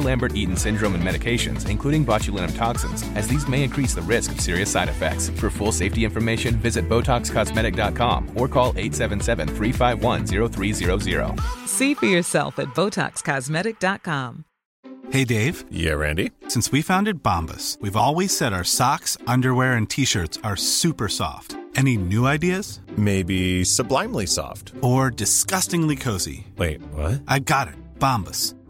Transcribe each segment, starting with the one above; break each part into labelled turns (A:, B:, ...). A: Lambert-Eaton syndrome and medications, including botulinum toxins, as these may increase the risk of serious side effects. For full safety information, visit BotoxCosmetic.com or call 877-351-0300.
B: See for yourself at BotoxCosmetic.com.
C: Hey, Dave.
D: Yeah, Randy.
C: Since we founded Bombus, we've always said our socks, underwear, and T-shirts are super soft. Any new ideas?
D: Maybe sublimely soft.
C: Or disgustingly cozy.
D: Wait, what?
C: I got it. Bombus.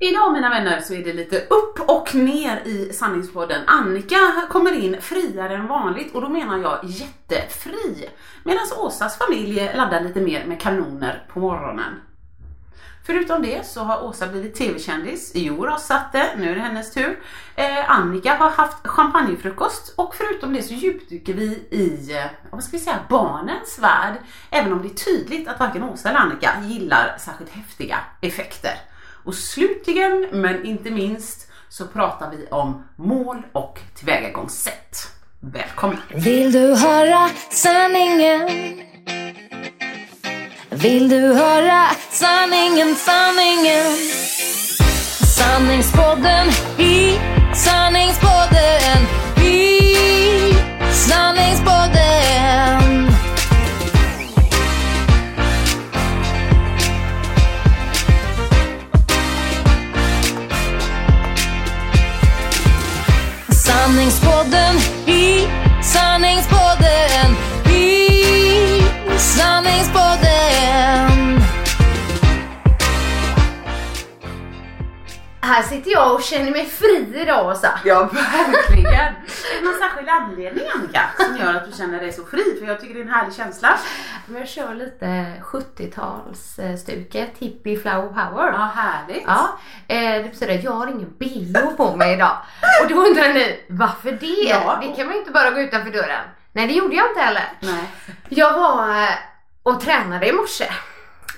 E: Idag mina vänner så är det lite upp och ner i sanningspodden. Annika kommer in friare än vanligt och då menar jag jättefri. Medan Åsas familj laddar lite mer med kanoner på morgonen. Förutom det så har Åsa blivit tv-kändis. Jo, satt det. Nu är det hennes tur. Eh, Annika har haft champagnefrukost och förutom det så djupdyker vi i, eh, vad ska vi säga, barnens värld. Även om det är tydligt att varken Åsa eller Annika gillar särskilt häftiga effekter. Och slutligen, men inte minst, så pratar vi om mål och tillvägagångssätt. Välkomna!
F: Vill du höra sanningen? Vill du höra sanningen, sanningen? Sanningspodden i sanningspodden i sanningspodden. Sanningspodden i sanningspodden i sanningspodden.
G: Här sitter jag och känner mig fri idag Åsa.
E: Ja, verkligen! Är det någon särskild anledning Annika som gör att du känner dig så fri? För jag tycker det är en härlig känsla.
G: Men jag kör lite 70-talsstuket, hippie flower power.
E: Ja, härligt!
G: Ja, eh, det betyder att jag har ingen bh på mig idag. Och då undrar ni, varför det?
E: Ja.
G: Det kan man ju inte bara gå utanför dörren. Nej, det gjorde jag inte heller.
E: Nej.
G: Jag var eh, och tränade i morse.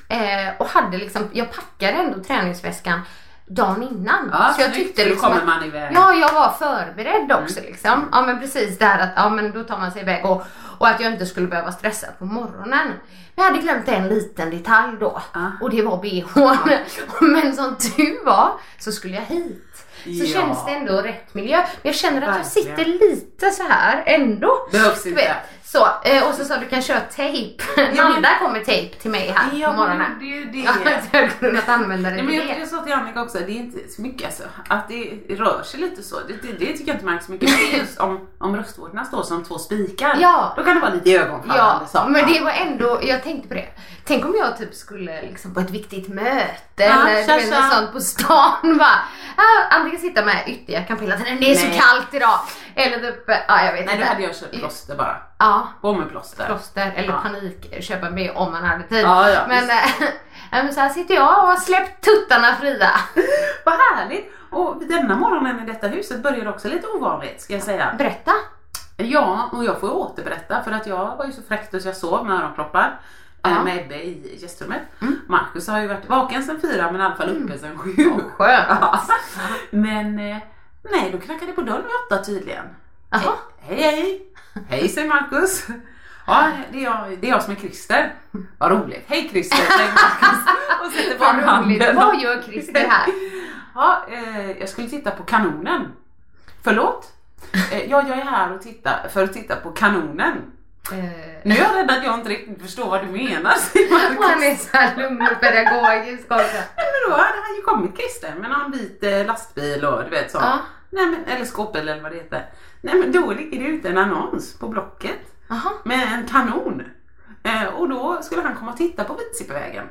G: Eh, och hade liksom, jag packade ändå träningsväskan dagen innan.
E: Ja,
G: så jag
E: snyggt,
G: tyckte
E: för då
G: liksom
E: kommer
G: att-
E: man iväg.
G: Ja, jag var förberedd
E: Mm.
G: också liksom. Ja men precis det här att ja, men då tar man sig iväg och, och att jag inte skulle behöva stressa på morgonen. Men jag hade glömt en liten detalj då
E: Ah.
G: och det var bhn. Men som tur var så skulle jag hit. Så
E: Ja.
G: känns det ändå rätt miljö. Men jag känner att jag
E: Verkligen.
G: sitter lite så här ändå.
E: Behövs
G: Du
E: inte.
G: vet, så, eh, och så sa du kan köra tejp.
E: men-
G: Nanda kommer tejp till mig här
E: Ja,
G: på morgonen.
E: men det är ju det.
G: Ja, så jag hade kunnat använda det
E: Nej,
G: till
E: men jag,
G: det.
E: jag sa till Annika också, det är inte så mycket alltså. Att det rör sig lite så, det, det, det tycker jag inte märks så mycket. Men det är just om, om bröstvårtorna står som två spikar,
G: Ja.
E: då kan det vara lite
G: Ja,
E: ögonfallande. så.
G: men det var ändå, jag tänkte på det. Tänk om jag typ skulle liksom på ett viktigt möte
E: Ja,
G: eller
E: tja,
G: du vet,
E: tja.
G: något sånt på stan. Bara, ah, antingen sitta med ytterjackan på hela tiden, det är
E: Nej.
G: så kallt idag. Eller typ, ja jag
E: Nej,
G: vet
E: då
G: inte.
E: hade jag köpt plåster bara.
G: Ja,
E: Bomullplåster.
G: plåster eller
E: Ja.
G: panik köpa med om man hade tid.
E: Ja, ja,
G: men, eh, ja, men så här sitter jag och har släppt tuttarna fria.
E: Vad härligt! Och denna morgonen i detta huset började också lite ovanligt ska jag säga.
G: Berätta.
E: Ja, och jag får ju återberätta för att jag var ju så fräck så jag sov med öronproppar.
G: Ja. Mm.
E: eh, Med Ebbe i gästrummet. Marcus har ju varit vaken sedan fyra men i alla fall uppe sedan sju.
G: skönt.
E: Ja. Men eh, nej, då knackade det på dörren vid åtta tydligen.
G: Jaha.
E: Hej hej! Hej säger Marcus. Ja, det är, jag, det är jag som är Christer. Vad roligt. Hej Christer säger Marcus. Och sätter på
G: Vad
E: honom
G: roligt.
E: handen.
G: Vad gör Christer här?
E: Ja, eh, jag skulle titta på kanonen. Förlåt? Eh, ja, jag är här och tittar för att titta på kanonen.
G: Eh,
E: Nu är jag rädd att jag inte riktigt förstår vad du menar säger
G: han är
E: Marcus.
G: såhär lugn-pedagogisk också.
E: Men då hade han ju kommit Christer med någon vit eh, lastbil och du vet så.
G: Ja.
E: Nej, men, eller skåpbil eller vad det heter. Nej men då ligger det ute en annons på Blocket
G: Jaha.
E: med en kanon. Eh, och då skulle han komma och titta på Vidsippevägen.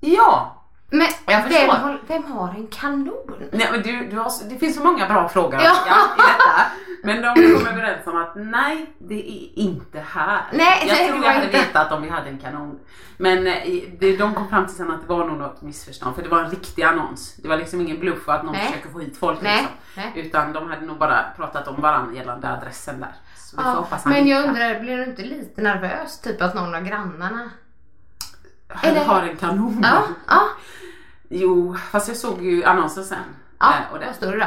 E: Ja!
G: Men
E: Jag
G: vem,
E: förstår.
G: har- vem har en kanon?
E: Nej, men du, du har, så- det finns så många bra frågor
G: Ja.
E: Annika, i detta. Men de kom överens om att nej, det är inte här.
G: Nej,
E: jag
G: nej,
E: tror
G: det
E: jag
G: var
E: hade
G: inte.
E: vetat om vi hade en kanon. Men eh, i- det- de kom fram till sen att det var nog något missförstånd för det var en riktig annons. Det var liksom ingen bluff att någon
G: Nej.
E: försöker få hit folk.
G: Nej,
E: Liksom.
G: nej.
E: Utan de hade nog bara pratat om varandra gällande adressen där. Så vi får
G: Ja,
E: hoppas han
G: men jag
E: hittar.
G: undrar, blir du inte lite nervös? Typ att någon av grannarna...
E: Han
G: eller-
E: har en kanon.
G: Ja, ja.
E: Jo, fast jag såg ju annonsen sen.
G: ja.
E: Eh, och det-
G: Vad står det då?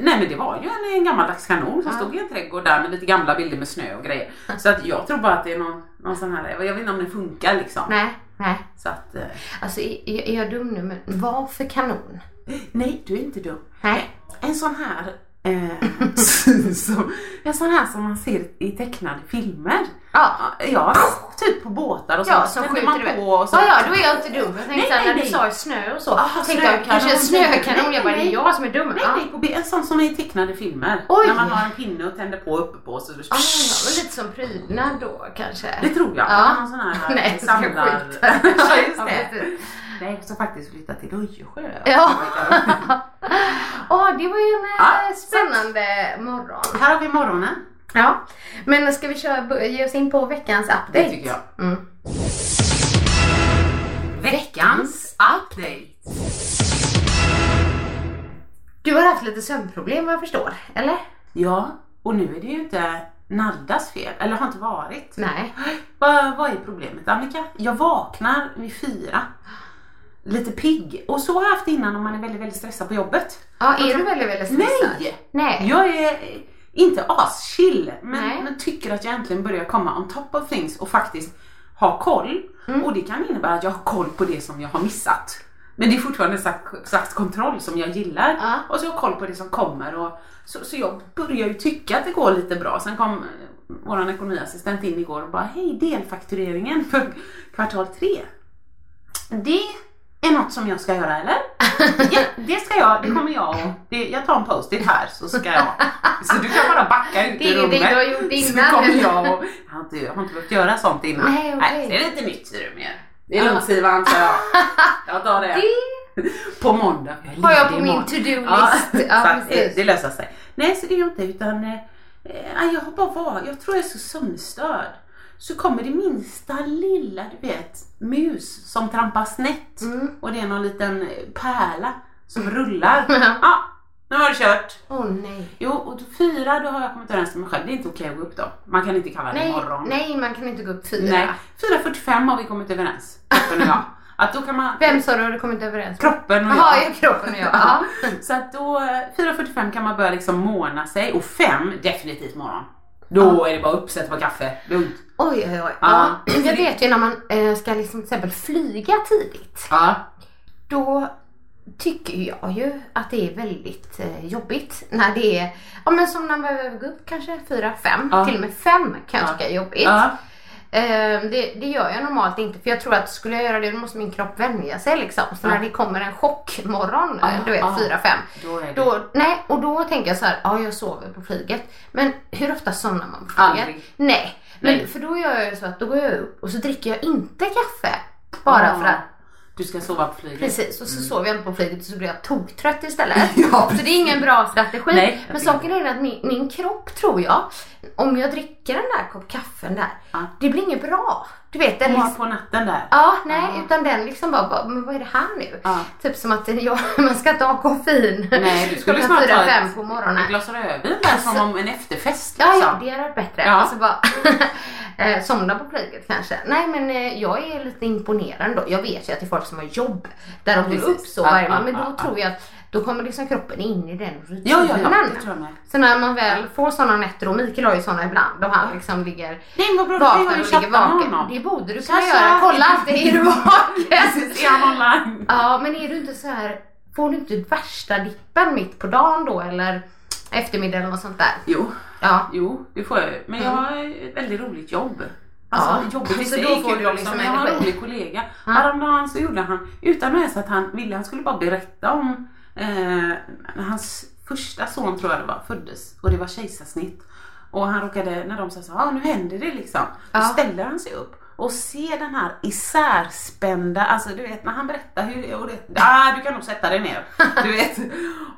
E: Nej men det var ju en, en gammaldags kanon som
G: Ja.
E: stod i en trädgård där med lite gamla bilder med snö och grejer. Så att jag tror bara att det är någon, någon sån här, jag vet inte om den funkar liksom.
G: Nej, nej.
E: Så att, eh,
G: Alltså är, är jag dum nu men vad för kanon?
E: nej du är inte dum.
G: Nej.
E: En sån här eh, som, en sån här som man ser i tecknade filmer.
G: Ja.
E: Ja, typ på båtar och så.
G: Ja, som
E: Tänder
G: skjuter iväg.
E: man på och så.
G: Ja, ja, då är jag inte dum.
E: Nej,
G: Jag tänkte såhär
E: nej,
G: när du
E: nej.
G: sa snö och så.
E: Ah,
G: tänkte jag kanske en
E: snökanon.
G: snökanon. Jag bara, det
E: Nej, nej.
G: är jag som är dum.
E: Nej,
G: ja.
E: nej, på, bi- en sån som är i tecknade filmer.
G: Oj.
E: När man har en pinne och tänder på uppe på så
G: Ah, det var lite som prydnad då kanske.
E: Det tror jag.
G: Ja.
E: Någon sån här
G: Nej,
E: eh,
G: jag ska
E: samlar...
G: skita.
E: ja, just
G: Ja,
E: det.
G: precis.
E: Nej, jag ska faktiskt flytta till Öjersjö.
G: Ja. Ja, det var ju en
E: Ja,
G: eh, spännande morgon.
E: här har vi morgonen.
G: Ja, men ska vi köra, börja- ge oss in på veckans update?
E: Det tycker jag.
G: Mm.
E: Veckans update.
G: Du har haft lite sömnproblem vad jag förstår, eller?
E: Ja, och nu är det ju inte Naldas fel, eller har inte varit.
G: Nej.
E: Vad, vad är problemet Annika? Jag vaknar vid fyra. Lite pigg. Och så har jag haft innan om man är väldigt, väldigt stressad på jobbet.
G: Ja, är du väldigt, väldigt stressad?
E: Nej!
G: Nej.
E: Jag är inte aschill men,
G: Nej.
E: men tycker att jag äntligen börjar komma on top of things och faktiskt ha koll.
G: Mm.
E: Och det kan innebära att jag har koll på det som jag har missat. Men det är fortfarande en slags, slags kontroll som jag gillar.
G: Ja.
E: Och så har jag koll på det som kommer. Och, så, så jag börjar ju tycka att det går lite bra. Sen kom eh, vår ekonomiassistent in igår och bara hej delfaktureringen för kvartal tre. Det är något som jag ska göra eller? Ja, det ska jag, det kommer jag och det, jag tar en post-it här så ska jag. Så du kan bara backa ut
G: Det är
E: ur rummet.
G: ingenting du har gjort innan.
E: Så kommer jag och, jag har inte, jag har inte behövt göra sånt innan.
G: Nej, okej.
E: det är lite nytt ser du mer. Det är lugnt Sivan, så jag. Jag tar det. På måndag. är
G: Har jag
E: ledig
G: på min
E: imorgon.
G: to-do-list.
E: Ja,
G: Ja,
E: så att, eh,
G: precis.
E: det löser sig. Nej, så det gör jag inte utan eh, eh, jag har bara varit, jag tror jag är så sömnstörd. Så kommer det minsta lilla, du vet, mus som trampar snett
G: Mm.
E: och det är någon liten eh, pärla som rullar. Ja, nu var det kört.
G: Åh oh, nej.
E: Jo, och fyra, då har jag kommit överens med mig själv. Det är inte okej att gå upp då. Man kan inte kalla det
G: Nej,
E: morgon.
G: nej, man kan inte gå upp fyra.
E: Nej. 4.45 har vi kommit överens, kroppen och jag. Att då kan man...
G: Vem sa du hade kommit överens med?
E: Kroppen och
G: Jaha,
E: jag.
G: ja, kroppen och jag.
E: Ja.
G: Ja.
E: Så att då, eh, 4.45 kan man börja liksom måna sig och 5, definitivt morgon. Då är det bara upp, sätta på kaffe, lugnt.
G: Oj, oj, oj.
E: Ja.
G: Ja. Jag vet ju när man eh, ska liksom till exempel flyga tidigt.
E: Ja.
G: Då tycker jag ju att det är väldigt eh, jobbigt när det är, ja men som när man behöver gå upp kanske fyra, fem,
E: Ja.
G: till och med fem kan jag
E: Ja.
G: tycka är jobbigt.
E: ja.
G: Eh, det, det gör jag normalt inte för jag tror att skulle jag göra det då måste min kropp vänja sig liksom. Så när det kommer en chockmorgon,
E: Ja,
G: eh, du vet
E: ja.
G: 4-5.
E: Då är det-
G: Då, nej, och då tänker jag så här, ja jag sover på flyget. Men hur ofta somnar man på flyget?
E: Aldrig.
G: Nej. Men
E: Nej.
G: för då gör jag ju så att då går jag upp och så dricker jag inte kaffe. Bara
E: Ja.
G: för att
E: Du ska sova på flyget.
G: Precis, och så sover jag inte på flyget och så blir jag toktrött istället.
E: Mm. Ja,
G: så det är ingen bra strategi.
E: Nej, jag
G: Men
E: tycker
G: saken är att min, min kropp tror jag, om jag dricker den där kopp kaffen där,
E: Ja.
G: det blir inget bra. Du vet, den
E: Bara
G: liksom,
E: på natten där.
G: Ja, nej, utan den liksom bara, bara, men vad är det här nu?
E: Ja.
G: Typ som att jag, man ska inte ha koffein
E: Nej, du skulle
G: klockan
E: snart
G: fyra,
E: ta
G: fem
E: ett,
G: på morgonen.
E: ett glas rödvin där
G: Alltså-
E: som om en efterfest.
G: Ja, ja,
E: liksom.
G: det hade varit bättre.
E: Ja.
G: Alltså bara eh, somna på flyget kanske. Nej, men eh, jag är lite imponerad då. Jag vet ju att det är folk som har jobb där de går
E: Precis.
G: upp så
E: Ja,
G: varje
E: ja,
G: morgon. Men
E: ja,
G: då
E: ja.
G: tror jag att då kommer liksom kroppen in i den rutinen.
E: Ja, ja, ja, det tror jag med.
G: Så när man väl får sådana nätter, och Mikael har ju sådana ibland, då han liksom ligger
E: Nej, men vad bra, då kan
G: vaken
E: jag ju
G: och ligger
E: chatta med
G: vaken.
E: honom.
G: Det borde du kunna
E: Sasha!
G: göra. Kolla alltid, är du vaken?
E: Precis, är han online?
G: Ja, men är du inte så här, får du inte värsta dippen mitt på dagen då eller eftermiddag eller något sånt där?
E: Jo,
G: Ja.
E: jo, det får jag ju. Men jag har ett väldigt roligt jobb. Alltså
G: Ja.
E: jobbigt, visst
G: Så
E: det
G: då
E: är
G: får
E: kul
G: du
E: också
G: liksom
E: men jag har en
G: energi.
E: rolig kollega. Häromdagen så gjorde han, utan att ens att han ville, han skulle bara berätta om eh, hans första son tror jag det var, föddes och det var kejsarsnitt. Och han råkade, när de sa så ah, nu händer det liksom, då
G: Ja.
E: ställer han sig upp och ser den här isärspända, alltså du vet när han berättar hur, och det, ah, du kan nog sätta dig ner, du vet.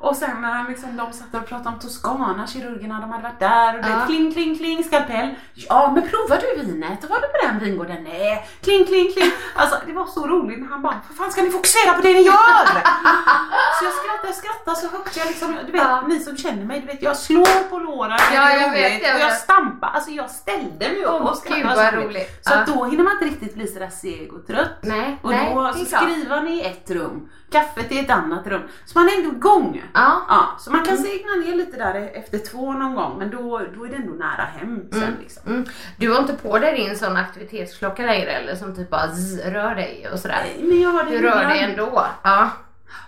E: Och sen när han liksom, de satt och pratade om Toscana, kirurgerna, de hade varit där och det,
G: Ja.
E: kling kling kling skalpell. Ja men provar du vinet? Var du på den vingården? Nej, kling kling kling. Alltså det var så roligt när han bara, vad fan ska ni fokusera på det ni gör? så jag skrattade, jag skrattade så högt jag liksom, du vet
G: Ja.
E: ni som känner mig, du vet jag slår på låren, det
G: Ja,
E: är
G: jag vet,
E: roligt.
G: jag
E: och jag
G: vet.
E: stampar, alltså jag ställde mig upp
G: Åh,
E: och skrattade.
G: gud,
E: Det var så
G: vad roligt.
E: Så att
G: Ja.
E: då hinner man inte riktigt bli sådär seg och trött.
G: Nej,
E: och
G: nej,
E: då
G: det är
E: så
G: klart.
E: skriver ni i ett rum, kaffet i ett annat rum. Så man är ändå igång.
G: Ja.
E: Ja, så man kan segna ner lite där efter två någon gång men då, då är det ändå nära hem sen liksom.
G: Mm. Du har inte på dig din sån aktivitetsklocka längre eller som typ bara zzz, rör dig och sådär?
E: Nej, Men jag har det
G: Du rör
E: ibland.
G: dig ändå. Ja.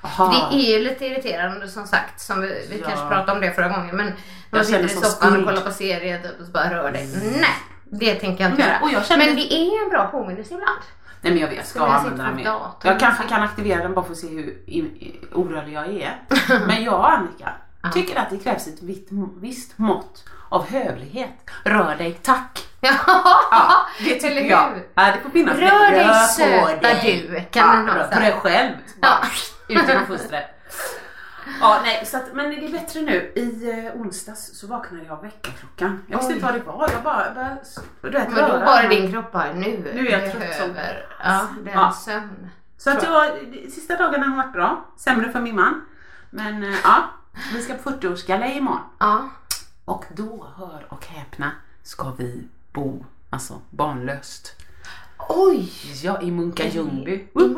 E: Aha.
G: Det är ju lite irriterande som sagt, som vi, vi
E: Ja.
G: kanske pratade om det förra gången. Men
E: Jag känner
G: man sitter i
E: sån
G: soffan
E: skuld.
G: och kollar på serier typ, och så bara rör dig. Nej, det tänker jag inte
E: Nej,
G: göra.
E: och jag känner-
G: Men det är en bra påminnelse ibland.
E: Nej men jag vet, jag ska
G: Skulle jag
E: använda
G: sitta
E: den
G: på
E: mer.
G: datorn?
E: Jag kanske kan aktivera den bara för att se hur i- i- orörlig jag är. Men jag och Annika tycker att det krävs ett vitt, visst mått av hövlighet. Rör dig, tack! Ja, det tycker
G: eller
E: jag.
G: hur?
E: Ja, det får finnas
G: Rör
E: lite.
G: dig,
E: på
G: söta
E: dig.
G: du,
E: ja,
G: kan man ha
E: rör
G: så
E: på
G: här.
E: dig själv.
G: Ja.
E: Bara, Ut genom fostret. Ja, nej, så att, men det är bättre nu. I eh, onsdags så vaknade jag av väckarklockan. Jag visste
G: Oj.
E: inte vad det var. Jag bara, bara du vet,
G: Men då
E: röra
G: bara
E: mig.
G: din kropp bara nu.
E: Nu är jag trött som-
G: behöver ja, den
E: Ja.
G: sömn.
E: Så att jag, de sista dagarna har varit bra. Sämre för min man. Men eh, ja, vi ska på 40-årsgalej imorgon.
G: Ja.
E: Och då, hör och häpna, ska vi bo, alltså barnlöst.
G: Oj!
E: Ja, i Munka Ljungby. Mm.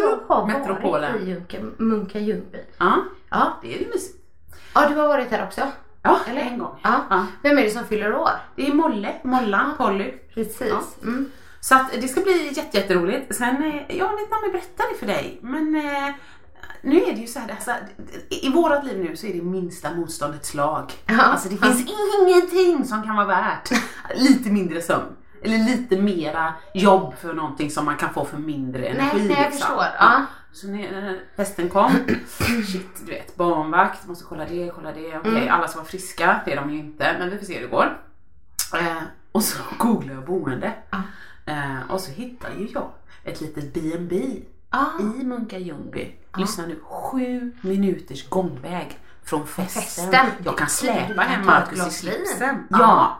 G: Jag har varit i
E: Metropolen.
G: Junka- Munka Ljungby.
E: Ja,
G: Ja.
E: det är ju mysigt.
G: ja, du har varit där också.
E: Ja,
G: Eller?
E: en gång.
G: Ja.
E: Ja.
G: Vem är det som fyller år?
E: Det är Molle, Mollan, Polly.
G: Precis. Mm.
E: Så att det ska bli jätte, jätteroligt. Sen, eh, jag vet inte om jag berättade det för dig, men eh, nu är det ju så här, alltså, i i vårat liv nu så är det minsta motståndets lag.
G: Ja.
E: Alltså det finns ingenting som kan vara värt lite mindre sömn. Eller lite mera jobb för någonting som man kan få för mindre energi. liksom.
G: nej, jag förstår. Ja.
E: Så när när festen kom, shit du vet, barnvakt, måste kolla det, kolla det. Okej,
G: Mm.
E: alla som var friska, det är de ju inte, men vi får se hur det går. Eh, och så googlade jag boende.
G: Ah.
E: Eh, och så hittade ju jag ett litet B&B
G: Ah.
E: i Munka Ljungby. Lyssna nu, sju minuters gångväg från festen.
G: Festen.
E: Jag kan
G: Du
E: släpa
G: kan
E: hem
G: ta ett
E: Marcus i
G: glas vin.
E: slipsen.
G: Ah.
E: Ja.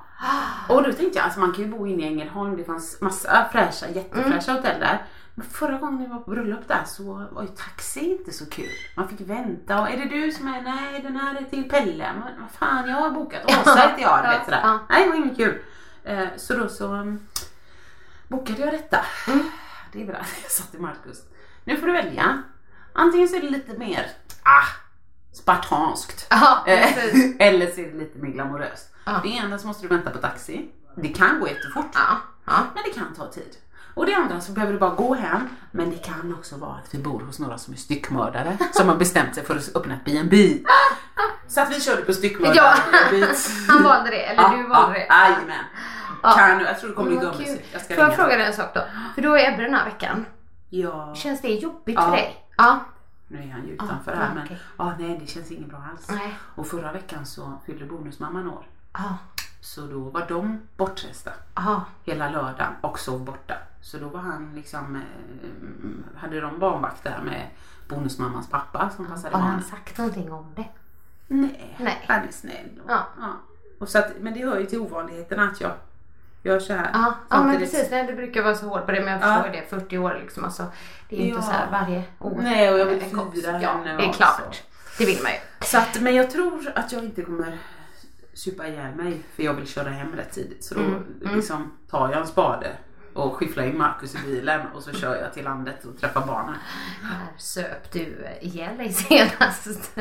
E: Och då tänkte jag, alltså man kan ju bo inne i Ängelholm, det fanns massa fräscha, jättefräscha
G: Mm.
E: hotell där. Men förra gången jag var på bröllop där så var ju taxi inte så kul. Man fick vänta och är det du som är, nej den här är till Pelle. Men vad fan jag har bokat Åsa heter jag. du Vet, sådär.
G: Ja.
E: Nej det var inget kul. Eh, Så då så um, bokade jag detta.
G: Mm.
E: Det är bra, jag sa till Markus. Nu får du välja. Antingen så är det lite mer ah, spartanskt.
G: Ja,
E: Eh,
G: precis.
E: Eller så är det lite mer glamoröst.
G: Ja.
E: Det ena så måste du vänta på taxi. Det kan gå jättefort.
G: Ja. Ja.
E: Men det kan ta tid. Och det andra så behöver du bara gå hem. Men det kan också vara att vi bor hos några som är styckmördare som har bestämt sig för att öppna ett B&B. Så att vi körde på styckmördare
G: Ja.
E: B&B.
G: Han valde det, eller du valde det.
E: Jajamän.
G: Ja.
E: Kan du? Jag tror det kommer
G: Men
E: bli
G: vad kul.
E: gummisen. Jag ska
G: Får jag
E: ringa.
G: fråga dig en sak då? För då är Ebbe den här veckan.
E: Ja,
G: Känns det jobbigt
E: Ja.
G: för dig? Ja.
E: nu är han ju utanför här men
G: Ah, okej.
E: ja, nej det känns inget bra alls.
G: Nej.
E: Och förra veckan så fyllde bonusmamman år.
G: Ja.
E: Så då var de bortresta
G: Ja.
E: hela lördagen och sov borta. Så då var han liksom, eh, hade de barnvakt där med bonusmammans pappa som passade
G: Har han
E: barnen.
G: sagt någonting om det?
E: Nej,
G: Nej.
E: han är snäll. Och,
G: Ja.
E: Och så att, men det hör ju till ovanligheterna att jag gör så här.
G: Ja, ja men
E: Samtidigt-
G: precis. Nej, du brukar vara så hård på det men jag
E: Ja.
G: förstår det. 40 år liksom. Alltså, det är ju
E: Ja.
G: inte så här varje år.
E: Nej, och jag vill
G: En kompis.
E: fira
G: Ja,
E: henne
G: det är
E: och
G: klart.
E: så.
G: Det vill man ju.
E: Så att, men jag tror att jag inte kommer supa ihjäl mig för jag vill köra hem rätt tidigt. Så då
G: Mm,
E: Liksom, tar jag en spade och skyfflar in Markus i bilen och så kör jag till landet och träffar barnen.
G: När söp du ihjäl dig senast?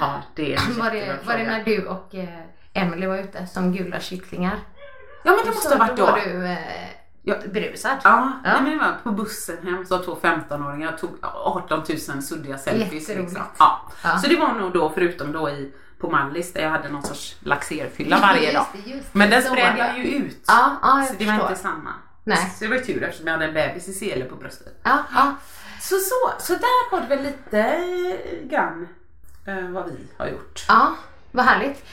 E: Ja, det är en jättebra
G: Var det, var det
E: fråga.
G: när du och eh, Emily var ute som gula kycklingar?
E: Ja men det måste ha varit då.
G: Då var du eh,
E: Ja.
G: berusad.
E: Ja,
G: Ja.
E: Nej, men det var på bussen hem så två 15-åringar och tog 18 000 suddiga selfies.
G: Jätteroligt.
E: Liksom. Ja.
G: Ja.
E: Så det var nog då förutom då i på Mallis där jag hade någon sorts laxerfylla varje dag.
G: Just det, just det.
E: Men den
G: Så
E: spred
G: var det.
E: jag ju ut.
G: Ja, ja, jag
E: så det var
G: förstår.
E: inte samma.
G: Nej.
E: Så det var tur eftersom jag hade en bebis i sele på bröstet.
G: Ja, ja.
E: Så, så, så där har du väl lite eh, grann eh, vad vi har gjort.
G: ja, vad härligt.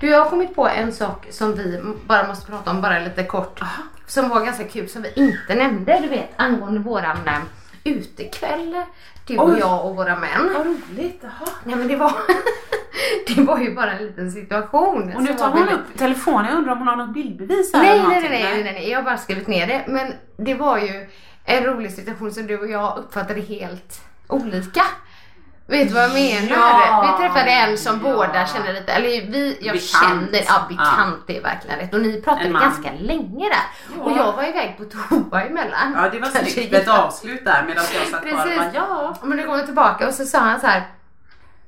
G: Du, jag har kommit på en sak som vi bara måste prata om bara lite kort. Som var ganska kul som vi inte nämnde, du vet angående våran eh, utekväll. Du och
E: Oj.
G: jag och våra män.
E: Vad roligt, jaha.
G: Nej men det var, det var ju bara en liten situation.
E: Och nu
G: som
E: tar
G: var
E: hon
G: väldigt-
E: upp telefonen, jag undrar om hon har något bildbevis här
G: Nej
E: eller
G: nej, nej
E: någonting.
G: nej nej nej, jag har bara skrivit ner det. Men det var ju en rolig situation som du och jag uppfattade helt olika. Vet du vad jag menar?
E: Ja,
G: vi träffade en som
E: ja.
G: båda kände lite, eller vi, jag
E: Bekant.
G: känner, ja bekant det är verkligen rätt. Och ni pratade
E: En man.
G: ganska länge där. Och jag var iväg på toa emellan.
E: Ja, det var
G: Så
E: snyggt
G: jag-
E: ett avslut där medan jag satt kvar och
G: Precis.
E: bara, ja.
G: Men då kom jag tillbaka och så sa han så här.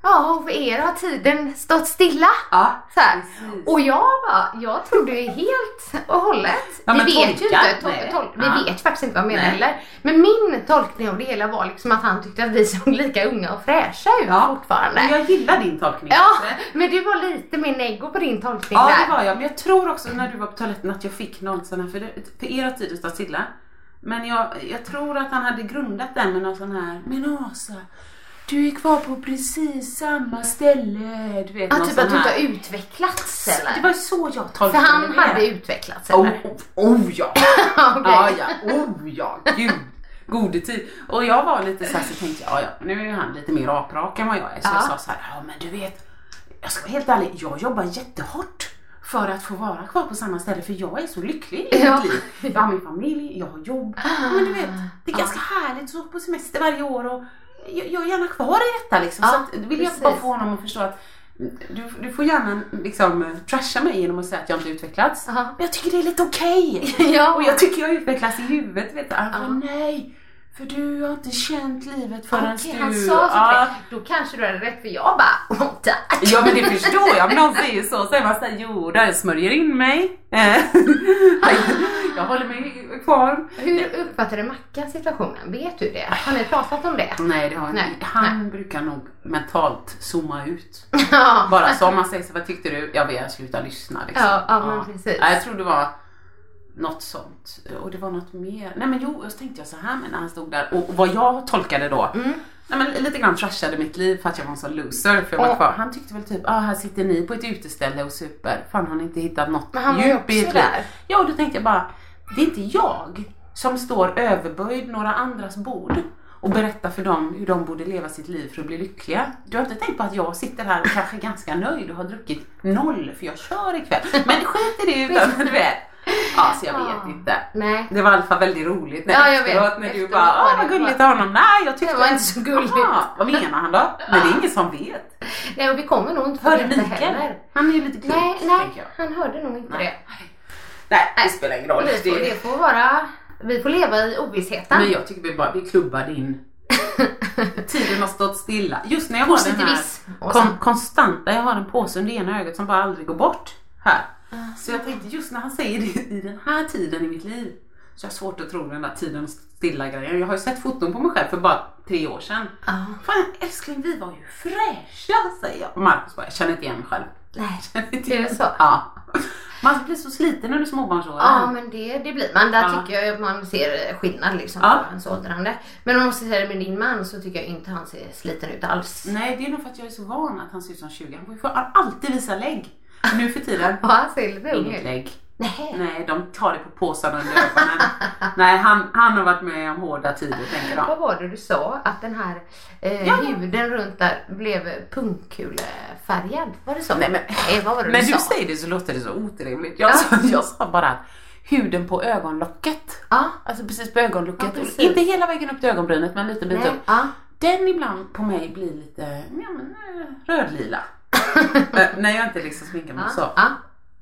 G: Ja, för er har tiden stått stilla.
E: Ja,
G: Så här.
E: precis.
G: Och jag bara, jag trodde ju helt och hållet.
E: Ja,
G: vi
E: men
G: vet ju
E: tolkat,
G: inte, tol-
E: nej.
G: tol- vi
E: Ja.
G: vet faktiskt inte vad han menar
E: Nej.
G: heller. Men min tolkning av det hela var liksom att han tyckte att vi såg lika unga och fräscha ut
E: Ja.
G: fortfarande.
E: Men jag gillar din tolkning.
G: Ja,
E: Lasse.
G: men du var lite mer neggo på din tolkning
E: Ja
G: där.
E: det var jag, men jag tror också när du var på toaletten att jag fick någon sån här, för, det, för era tider stod stilla. Men jag, jag tror att han hade grundat den med någon sån här, men Asa, du är kvar på precis samma ställe. Du vet,
G: Ja,
E: någon
G: typ
E: sån
G: att du inte har
E: här.
G: utvecklats
E: Det
G: eller?
E: var så jag
G: För
E: tolkade
G: han
E: det.
G: hade utvecklats
E: Oh,
G: eller?
E: oh, oh ja!
G: Okej.
E: Ja, ja, oh ja, gud. Gode tid. Och jag var lite så här så tänkte jag, ja, ja, nu är ju han lite mer aprak än vad jag är. Så jag
G: Ja.
E: sa så här, ja men du vet, jag ska vara helt ärlig, jag jobbar jättehårt för att få vara kvar på samma ställe för jag är så lycklig i
G: Ja. Ah.
E: mitt liv. Jag har min familj, jag har jobb. Ja, Men du vet, det är ganska härligt att åka på semester varje år och jag, jag är gärna kvar i detta liksom. så
G: Ja,
E: att, vill jag
G: precis.
E: bara få honom att förstå att du, du får gärna liksom trasha mig genom att säga att jag inte utvecklats.
G: Ja.
E: Men jag tycker det är lite okej.
G: Ja.
E: Och jag tycker jag utvecklas i huvudet. Vet du. Han bara, nej, för du har inte känt livet förrän
G: Okej,
E: du...
G: han sa så
E: Ja.
G: Då kanske du hade rätt för jag bara, oh, tack.
E: Ja men det förstår jag, men någon säger så säger man såhär, jo där jag smörjer in mig. Eh, jag håller mig kvar.
G: Hur uppfattade Mackan situationen? Vet du det? Har ni pratat om det?
E: Nej det har jag
G: Nej,
E: inte. Han brukar nog mentalt zooma ut.
G: Ja.
E: Bara så om man säger så, vad tyckte du? Jag vill sluta lyssna liksom.
G: Ja, ja, men precis.
E: Ja, Jag tror det var något sånt. Och det var något mer. Nej men jo, så tänkte jag så här men när han stod där och vad jag tolkade då.
G: Mm.
E: Nej men lite grann trashade mitt liv för att jag var en sån loser. För jag var
G: Ja.
E: kvar. Han tyckte väl typ, ah här sitter ni på ett uteställe och super. Fan har ni inte hittat något
G: Men han var ju
E: djup i
G: också
E: ert liv?
G: där.
E: Ja och då tänkte jag bara, det är inte jag som står överböjd några andras bord och berättar för dem hur de borde leva sitt liv för att bli lyckliga. Du har inte tänkt på att jag sitter här och kanske är ganska nöjd och har druckit noll för jag kör ikväll. Men skit i det utan du vet. Ja, så jag
G: Ja.
E: vet inte.
G: Ah, Nej.
E: Det var i alla fall väldigt roligt när,
G: Ja, jag
E: efteråt
G: vet.
E: när du
G: Efteråt
E: bara,
G: var
E: ah
G: det
E: vad gulligt
G: bara-
E: av honom. Nej, jag tyckte
G: Det var inte så gulligt.
E: Aha, vad menar han då? Men det är ingen som vet.
G: Nej, och vi kommer nog inte få
E: Hörde
G: veta
E: Mikael?
G: heller.
E: Han är ju lite klok,
G: Nej,
E: tänker
G: nej,
E: jag.
G: han hörde nog inte
E: Nej.
G: det.
E: Nej, det spelar ingen roll.
G: Vi får,
E: Det-
G: det får vara, vi får leva i ovissheten.
E: Men jag Typ. tycker vi bara, vi klubbar in. Tiden har stått stilla. Just när jag har den här
G: Positivism och
E: kon,
G: sånt.
E: konstanta, jag har en påse under ena ögat som bara aldrig går bort här. Så jag tänkte just när han säger det i den här tiden i mitt liv så jag har svårt att tro den där tiden har stått stilla grejen. Jag har ju sett foton på mig själv för bara tre år sedan. Fan älskling vi var ju fräscha säger jag. Och Marcus bara, jag känner inte igen mig själv.
G: Nej.
E: Jag känner inte
G: Är
E: igen-
G: det så?
E: Ja. Man blir så sliten under småbarnsåren.
G: Ja men det, det blir man. Där
E: Ja.
G: tycker jag att man ser skillnad liksom
E: Ja.
G: på ens åldrande. Men om jag måste säga det med din man så tycker jag inte han ser sliten ut alls.
E: Nej, det är nog för att jag är så van att han ser ut som 20. Han får ju för- alltid visa lägg. Nu för tiden,
G: Ja han ser lite ung
E: inget
G: ut.
E: lägg.
G: Nej.
E: Nej, de tar det på påsarna under ögonen. Nej, han, han har varit med om hårda tider tänker de.
G: Vad var det du sa? Att den här eh,
E: Ja.
G: huden runt där blev punkkulefärgad? Var det så?
E: Nej, men-
G: eh, vad var det
E: När
G: du
E: du
G: sa?
E: säger det så låter det så otrevligt. Jag, sa, jag sa bara att huden på ögonlocket,
G: Ja.
E: alltså precis på ögonlocket,
G: Ja, precis.
E: inte hela vägen upp till ögonbrynet men lite bit
G: Nej. Ah.
E: upp.
G: Ja.
E: Den ibland på mig blir lite ja, men, eh, rödlila. Eh, När jag inte liksom sminkar mig
G: Ja.
E: så.
G: Ja.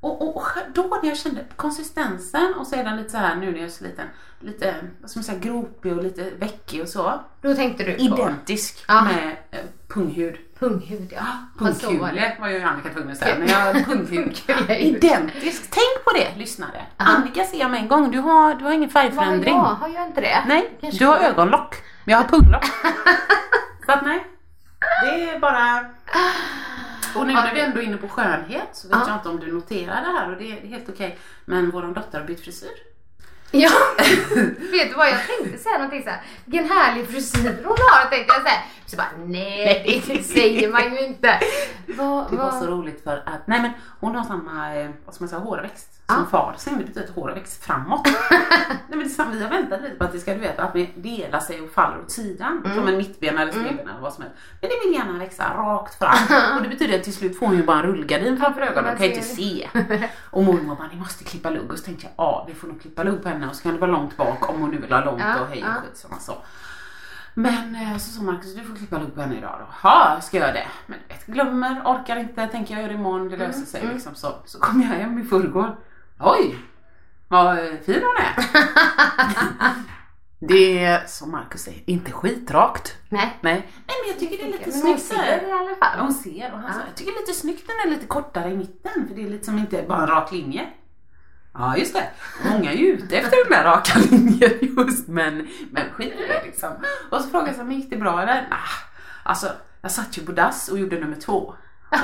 E: Och, och, och då när jag kände konsistensen och sedan lite så här nu när jag är så liten, lite vad ska man säga, gropig och lite veckig och så.
G: Då tänkte du på...
E: Identisk
G: Ja.
E: med eh, Punghud.
G: Punghud,
E: Ah,
G: ja. Men så var det.
E: Pungkule var ju Annika tvungen att säga. Men jag, punghud.
G: Pungkule.
E: Identiskt. Tänk på det lyssnare. Annika ser jag med en gång. Du har, du har ingen
G: Vad
E: färgförändring.
G: jag? Har jag inte det?
E: Nej,
G: Kanske
E: du har
G: jag-
E: ögonlock. Men jag har punglock. Så att nej. Det är bara... Och nu när vi ändå är inne på skönhet så vet jag inte om du noterar det här och det är helt okej. Men vår dotter har bytt frisyr.
G: Ja, vet du vad jag tänkte säga någonting såhär, vilken härlig frisyr hon har tänkte jag såhär. Så bara nej, det säger man ju inte. Vad,
E: Det var så
G: vad,
E: roligt för att, nej men hon har samma, eh, vad ska man säga, hårväxt som
G: Ja.
E: far sin. Det betyder att hårväxt framåt. nej men det är samma, vi har väntat lite på att det ska, du vet, att vi delar sig och faller åt sidan.
G: Mm.
E: Som en mittbena eller stegben eller vad som helst. Men det vill gärna växa rakt fram. och det betyder att till slut får hon ju bara en rullgardin framför ögonen.
G: man
E: Hon kan ju inte
G: ser
E: se. och mormor bara, ni måste klippa lugg. Och så tänkte jag, ja vi får nog klippa lugg på henne. Och så kan det vara långt bak om hon nu vill ha långt
G: Ja,
E: och hej
G: ja.
E: och skit som man sa. Men eh, så sa Marcus, du får klippa lugg på henne idag då. Jaha, ska jag göra det? Men du vet, glömmer, orkar inte, tänker jag gör det imorgon, det löser sig liksom. Så, så kom jag hem i förrgår. Oj, vad eh, fin hon är. det är, som Marcus säger, inte skitrakt.
G: nej.
E: Nej. Nej, men jag tycker det är lite
G: Men hon
E: snyggt. så här.
G: ser det i alla
E: Ja,
G: fall.
E: hon ser och han sa, jag tycker det är lite snyggt den är lite kortare i mitten för det är liksom inte bara en rak linje. Ja just det, många är ju ute efter den där raka linjen just men, men skit i det liksom. Och så frågade jag så här, men gick det bra eller? Nah. Alltså jag satt ju på dass och gjorde nummer två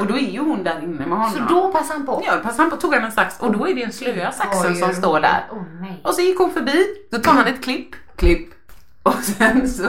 E: och då är ju hon där inne med honom.
G: Så då passar han på.
E: Ja, passade han på tog han en sax och då är det den slöa saxen som står där.
G: Åh nej.
E: Och så gick hon förbi, då tar
G: Mm.
E: han ett klipp, klipp. Och sen så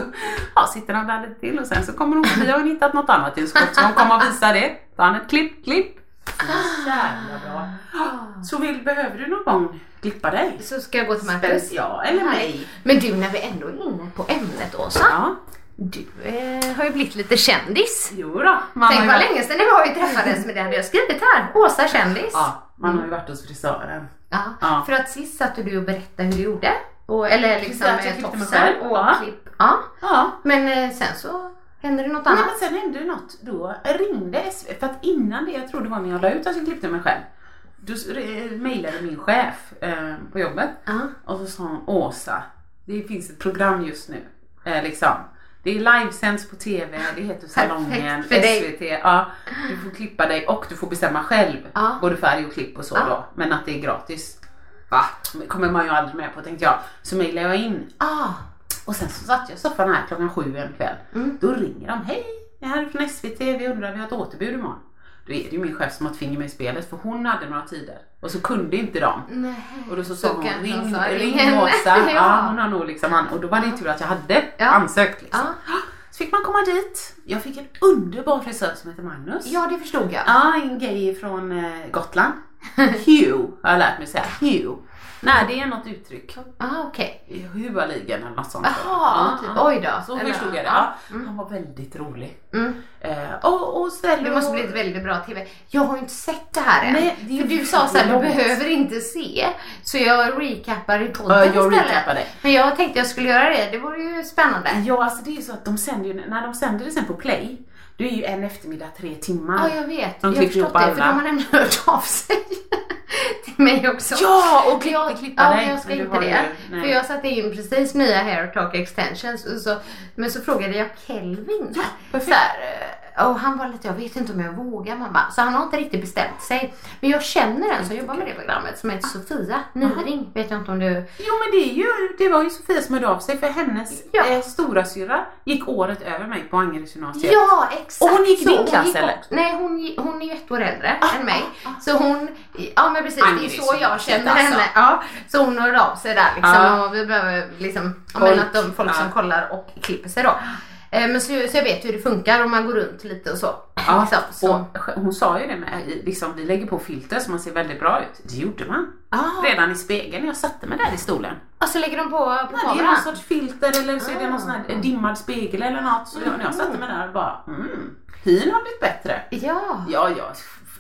E: ja, sitter han där lite till och sen så kommer hon förbi, har hon hittat något annat i en skåp så hon kommer och visar det. Tar han ett klipp, klipp. Så jävla bra. Ja, Så vill, behöver du någon gång klippa dig?
G: Så ska jag gå till Marcus.
E: Ja, eller mig.
G: Men du, när vi ändå är inne på ämnet Åsa.
E: Ja,
G: Du eh, har ju blivit lite kändis.
E: jo då. Man
G: Tänk
E: har ju
G: vad
E: varit-
G: länge sedan det var vi träffades men det hade jag skrivit här. Åsa kändis.
E: Ja, man har ju varit hos frisören.
G: Ja.
E: Ja.
G: För att sist satt du och berättade hur du gjorde. Och, eller liksom
E: Precis, jag
G: med
E: klippte mig
G: tofsar
E: själv.
G: och
E: Ja.
G: klipp. Ja.
E: Ja,
G: Men eh, sen så hände det något
E: Nej,
G: annat.
E: men sen hände det något. Då ringde SV, för att innan det, jag tror det var när jag la ut att jag klippte mig själv. Då s- eh, mejlade min chef eh, på jobbet
G: Ja.
E: och så sa hon Åsa, det finns ett program just nu. Eh, liksom. Det är livesänds på TV, det heter Salongen,
G: för dig.
E: SVT. Ja, du får klippa dig och du får bestämma själv.
G: Ja.
E: Både färg och klipp och så
G: Ja.
E: då. Men att det är gratis. Va? kommer man ju aldrig med på tänkte jag. Så mejlade jag in
G: Ah,
E: och sen så satt jag i soffan här klockan sju en kväll.
G: Mm.
E: Då ringer de. Hej, jag är här från SVT. Vi undrar, vi har ett återbud imorgon. Då är det ju min chef som har ett finger med i spelet för hon hade några tider. Och så kunde inte de. Och då så sa
G: Så
E: hon,
G: kanske
E: ring,
G: hon sa,
E: ring
G: ring henne."
E: Åsa.
G: Ja.
E: ja. hon har nog liksom, an- och då var det ju tur att jag hade
G: Ja.
E: ansökt. Liksom.
G: ja.
E: Så fick man komma dit. Jag fick en underbar frisör som heter Magnus.
G: ja, det förstod jag.
E: Ja, en gay från eh, Gotland. Hugh har jag lärt mig säga. Hugh. Nej, det är något uttryck.
G: Ah, okej.
E: Huvaligan eller något sånt.
G: Jaha,
E: Ja,
G: typ.
E: ja.
G: Oj då.
E: Så
G: Eller-
E: förstod jag det.
G: ja.
E: Ja. Han var väldigt rolig.
G: Mm.
E: Eh, och, och ställer
G: Det måste
E: och-
G: bli ett väldigt bra TV. Jag har ju inte sett det här än.
E: Nej, det är
G: för
E: ju
G: du sa så här, du
E: långt.
G: behöver inte se. Så jag recappar i podden
E: Ja, jag
G: istället.
E: recappade.
G: Men jag tänkte jag skulle göra det. Det vore ju spännande.
E: Ja, alltså det är ju så att de sänder ju, när de sänder det sen på play, då är ju en eftermiddag tre timmar.
G: Ja, jag vet.
E: De
G: jag har
E: klipper
G: förstått
E: ihop
G: det. För de
E: alla.
G: har nämligen hört av sig till mig också.
E: Ja, och klipp-
G: jag,
E: klippa
G: ja,
E: dig.
G: men jag ska
E: Men du
G: inte
E: har ju-
G: det.
E: nej.
G: för jag satte in precis nya hair talk extensions. Och så, men så frågade jag Kelvin.
E: perfekt.
G: så här, eh, och han var lite, jag vet inte om jag vågar mamma. Så han har inte riktigt bestämt sig. Men jag känner en som jobbar med det programmet som
E: Ah.
G: heter Sofia Nyring. Vet jag inte om du...
E: Jo men det, är ju, det var ju Sofia som hörde av sig för hennes
G: Ja.
E: eh, stora syra gick året över mig på Angeredsgymnasiet.
G: Ja, exakt.
E: Och hon gick i
G: så.
E: din
G: Hon
E: klass,
G: gick
E: eller? Ah,
G: också- Nej, hon, gi- hon är ju ett år äldre än mig. Så hon, ja men precis, det är
E: Agnes,
G: så jag
E: alltså.
G: känner henne. Ja, så hon hör av sig där liksom.
E: Ja.
G: Och vi behöver liksom, ja,
E: Folk. Ah.
G: men att de folk som
E: Ja.
G: kollar och klipper sig då. Eh, Men så, så jag vet hur det funkar om man går runt lite och så.
E: Ja,
G: Liksom, så.
E: Ah. och sk- hon sa ju det med, i- liksom, vi lägger på filter så man ser väldigt bra ut. Det gjorde man.
G: Ah.
E: Redan i spegeln när jag satte mig där i stolen.
G: och så lägger de på, på
E: Nej, det är någon
G: kameran.
E: sorts filter eller så är det någon sån här dimmad spegel eller något. Så jag, när jag satte mig där och bara, mm, hyn har blivit bättre.
G: Ja.
E: Ja, jag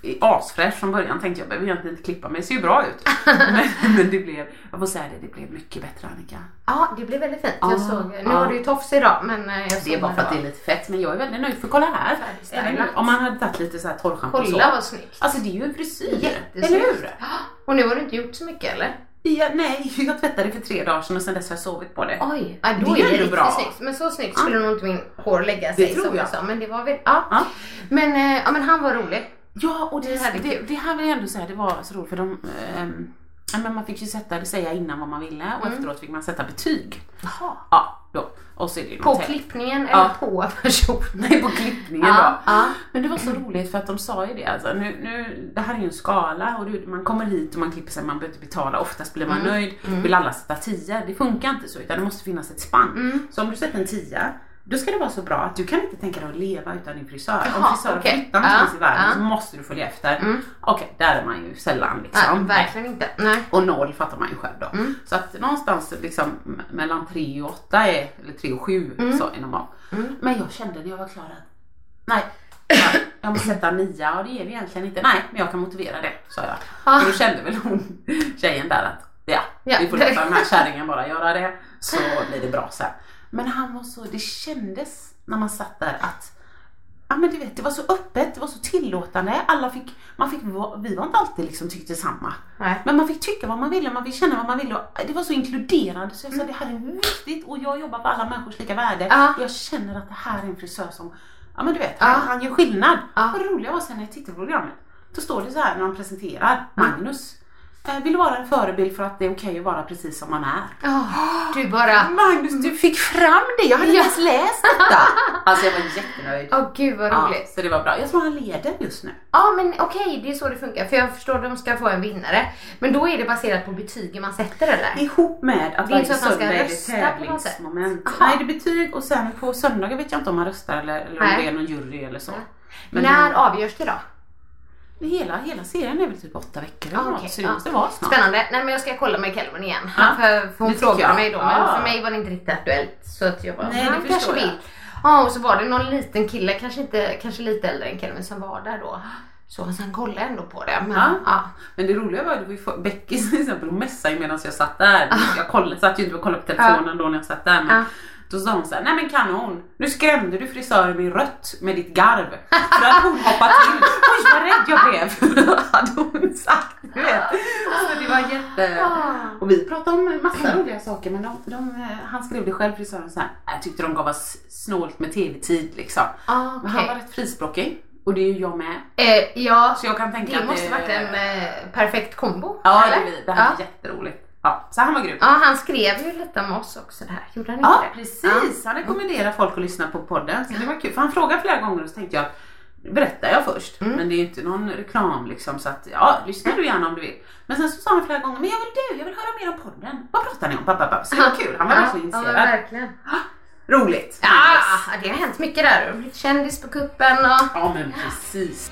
E: är asfräsch från början tänkte jag, behöver jag inte klippa mig, det ser ju bra ut. Men, men det blev, jag får säga det, det blev mycket bättre Annika.
G: ja, det blev väldigt fint.
E: Ja,
G: Jag såg, nu
E: ja.
G: har du ju tofs idag men eh, jag såg
E: Ah. Det är bara
G: när
E: för att det
G: var.
E: är lite fett, men jag är väldigt nöjd. För kolla här,
G: Färgstylat.
E: Eller hur? om man hade tagit lite så här torrschampo och så.
G: Kolla vad snyggt.
E: Alltså det är ju en frisyr,
G: Jättesnyggt. Ah.
E: eller hur?
G: Och nu har du inte gjort så mycket eller?
E: Ja, nej, jag tvättade för tre dagar sedan och sedan dess har jag sovit på det.
G: Oj, ja, då
E: Det är
G: är det
E: ändå
G: riktigt
E: bra.
G: snyggt. Men så snyggt skulle nog inte min hår lägga sig
E: tror
G: som
E: jag.
G: jag sa. Men det var väl, ja.
E: Ja.
G: Men, eh, ja, men han var rolig.
E: Ja, och det,
G: hade-
E: det, det här vill jag ändå säga, det var så roligt för de, ehm, ja, men man fick ju sätta, säga innan vad man ville och efteråt fick man sätta betyg.
G: Mm. Jaha.
E: Ja, då. Och så är det ju
G: På
E: något helt-
G: klippningen
E: Ja.
G: eller på personen?
E: Nej, på klippningen
G: Ja,
E: då.
G: ja.
E: Men det var så roligt för att de sa ju det alltså, nu, nu, det här är ju en skala och du, man kommer hit och man klipper sig, man behöver inte betala, oftast blir
G: Mm.
E: man nöjd. Vill alla sätta 10? Det funkar inte så utan det måste finnas ett spann.
G: Mm.
E: Så om du sätter en 10 då ska det vara så bra att du kan inte tänka dig att leva utan din frisör.
G: Jaha,
E: om frisören
G: okej.
E: flyttar någonstans
G: Ja,
E: i världen
G: ja.
E: så måste du följa efter. Okej, där är man ju sällan
G: Nej,
E: liksom.
G: verkligen inte. Nej.
E: Och noll fattar man ju själv då.
G: Mm.
E: Så att någonstans liksom m- mellan 3 och 8 är, eller 3 och 7
G: Mm.
E: så är normalt. Men jag kände när jag var klar att nej, nej, jag måste sätta 9 och det är vi egentligen inte. Nej, men jag kan motivera det sa jag.
G: Ah.
E: Och då kände väl hon, tjejen där att ja,
G: Ja.
E: vi får låta den här kärringen bara göra det så blir det bra sen. Men han var så, det kändes när man satt där att Ja men du vet, det var så öppet, det var så tillåtande. Alla fick, man fick, va- vi var inte alltid liksom tyckte samma.
G: Nej.
E: Men man fick tycka vad man ville, man fick känna vad man ville. och Det var så inkluderande så jag sa det här är viktigt och jag jobbar för alla människors lika värde.
G: Ja.
E: Jag känner att det här är en frisör som, ja men du vet,
G: Ja.
E: han, han gör skillnad.
G: Ja.
E: Vad roligt var sen när jag tittade på programmet. Då står det så här när de presenterar Magnus. eh, Vill vara en förebild för att det är okej att vara precis som man är.
G: Ja, du bara,
E: Magnus du fick fram det, jag hade
G: Ja.
E: inte ens läst detta. Alltså jag var jättenöjd.
G: åh gud vad
E: Ja,
G: roligt.
E: så det var bra. Jag tror han leder just nu.
G: Ja men okej, det är så det funkar. För jag förstår att de ska få en vinnare. Men då är det baserat på betygen man sätter eller?
E: Ihop med att
G: Det är
E: varje
G: inte så att man ska
E: söndag är det
G: rösta på något sätt.
E: tävlingsmoment.
G: Aha.
E: Nej, det är betyg och sen på söndagar vet jag inte om man röstar eller, eller om
G: Nej.
E: det är någon jury eller så. Men
G: När avgörs det då?
E: hela, hela serien är väl typ åtta veckor eller något,
G: Ah, okej,
E: så det
G: ja.
E: måste vara snart.
G: Spännande. Nej men jag ska kolla med Kelvin igen.
E: Ja,
G: För, för hon
E: det tycker jag.
G: frågade mig då men
E: Ja.
G: för mig var det inte riktigt aktuellt. Så att jag bara,
E: Nej, det
G: han kanske
E: förstår jag.
G: vill. Ja och så var det någon liten kille, kanske, inte, kanske lite äldre än Kelvin som var där då. Så han kollade ändå på det. Men,
E: Ja.
G: ja.
E: Men det roliga var ju att Beckis till exempel, hon messade ju medan jag satt där. Jag kollade, satt ju inte och kollade på telefonen då när jag satt där. Men
G: Ja.
E: Då sa hon såhär, nej men kanon, nu skrämde du frisören i rött med ditt garv. För att hon hoppade till. Oj vad rädd jag blev. Hade hon sagt. Du vet. Så det var jätte... Och vi pratade om massa roliga saker men de, de, eh, han skrev det själv frisören såhär, jag tyckte de gav oss snålt med tv-tid liksom.
G: Ah, okej.
E: Men han var rätt frispråkig. Och det är ju jag med.
G: Eh, ja,
E: Så jag kan tänka
G: det
E: att
G: måste
E: det-
G: varit en eh, perfekt kombo.
E: Ja,
G: eller?
E: det, blir- det här
G: ja.
E: är jätteroligt. Ja, så han var grym.
G: ja, han skrev ju lite om oss också det här. Gjorde han inte
E: Ja,
G: det?
E: precis. Han rekommenderar folk att lyssna på podden. Så det var kul. För han frågade flera gånger och så tänkte jag, berättar jag först.
G: Mm.
E: Men det är ju inte någon reklam liksom. Så att, ja, lyssna du gärna om du vill. Men sen så sa han flera gånger, men jag vill du, jag vill höra mer om podden. Vad pratar ni om? Pappa, pappa. Så det var kul. Han var
G: Ja,
E: verkligen
G: ja,
E: intresserad.
G: verkligen.
E: Roligt.
G: Ja, det har hänt mycket där. Du har blivit kändis på kuppen och...
E: Ja, men precis.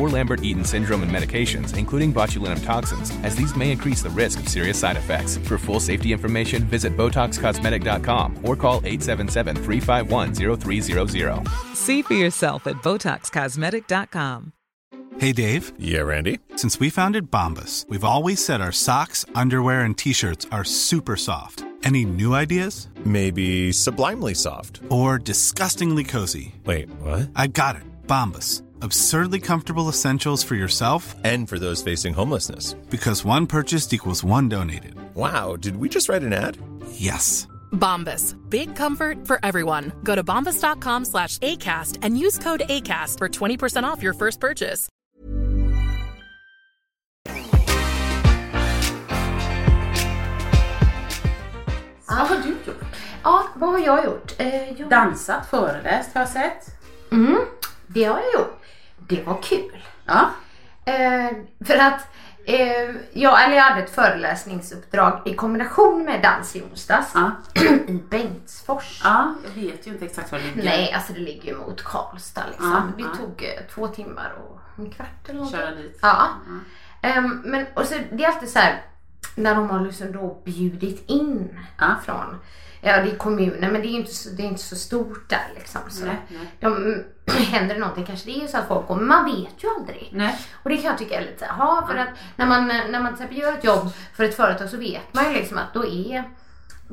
A: or Lambert-Eaton syndrome and medications, including botulinum toxins, as these may increase the risk of serious side effects. For full safety information, visit BotoxCosmetic.com or call 877-351-0300.
B: See for yourself at BotoxCosmetic.com.
C: Hey, Dave,
D: Yeah, Randy.
C: since we founded Bombus, we've always said our socks, underwear, and t shirts are super soft. Any new ideas?
D: Maybe sublimely soft.
C: Or disgustingly cozy?
D: Wait, what?
C: I got it, Bombus. Absurdly comfortable essentials for yourself
D: And for those facing homelessness.
C: because one purchased equals one donated.
D: Wow, did we just write an ad?
C: Yes.
H: Bombas. Big comfort for everyone. Go to bombas.com slash ACAST and use code ACAST for 20% off your first purchase.
E: Vad har du gjort?
G: Ja, vad har jag gjort? Eh, jag...
E: Dansat, föreläst har jag sett.
G: Mm, det har jag gjort. Det var kul.
E: Ja.
G: Eh, för att eh, jag, eller jag hade ett föreläsningsuppdrag i kombination med dans i onsdags
E: Ja.
G: i Bengtsfors.
E: ja, jag vet ju inte exakt var det ligger.
G: Nej, alltså det ligger ju mot Karlstad liksom.
E: Ja,
G: det
E: ja.
G: tog eh, två timmar och en kvart eller någonting.
E: Köra dit.
G: Ja.
E: Mm.
G: Ehm, men och så, det är alltid så här när de har liksom då bjudit in
E: Ja.
G: från, ja det är kommunen men det är ju inte så, det är inte så stort där liksom. Så
E: Nej, nej.
G: De, händer det någonting kanske det är ju så att folk går, man vet ju aldrig.
E: Nej.
G: Och det kan jag tycka är lite så här, "Ha", för att när man, när man till exempel gör ett jobb för ett företag så vet man ju liksom att då är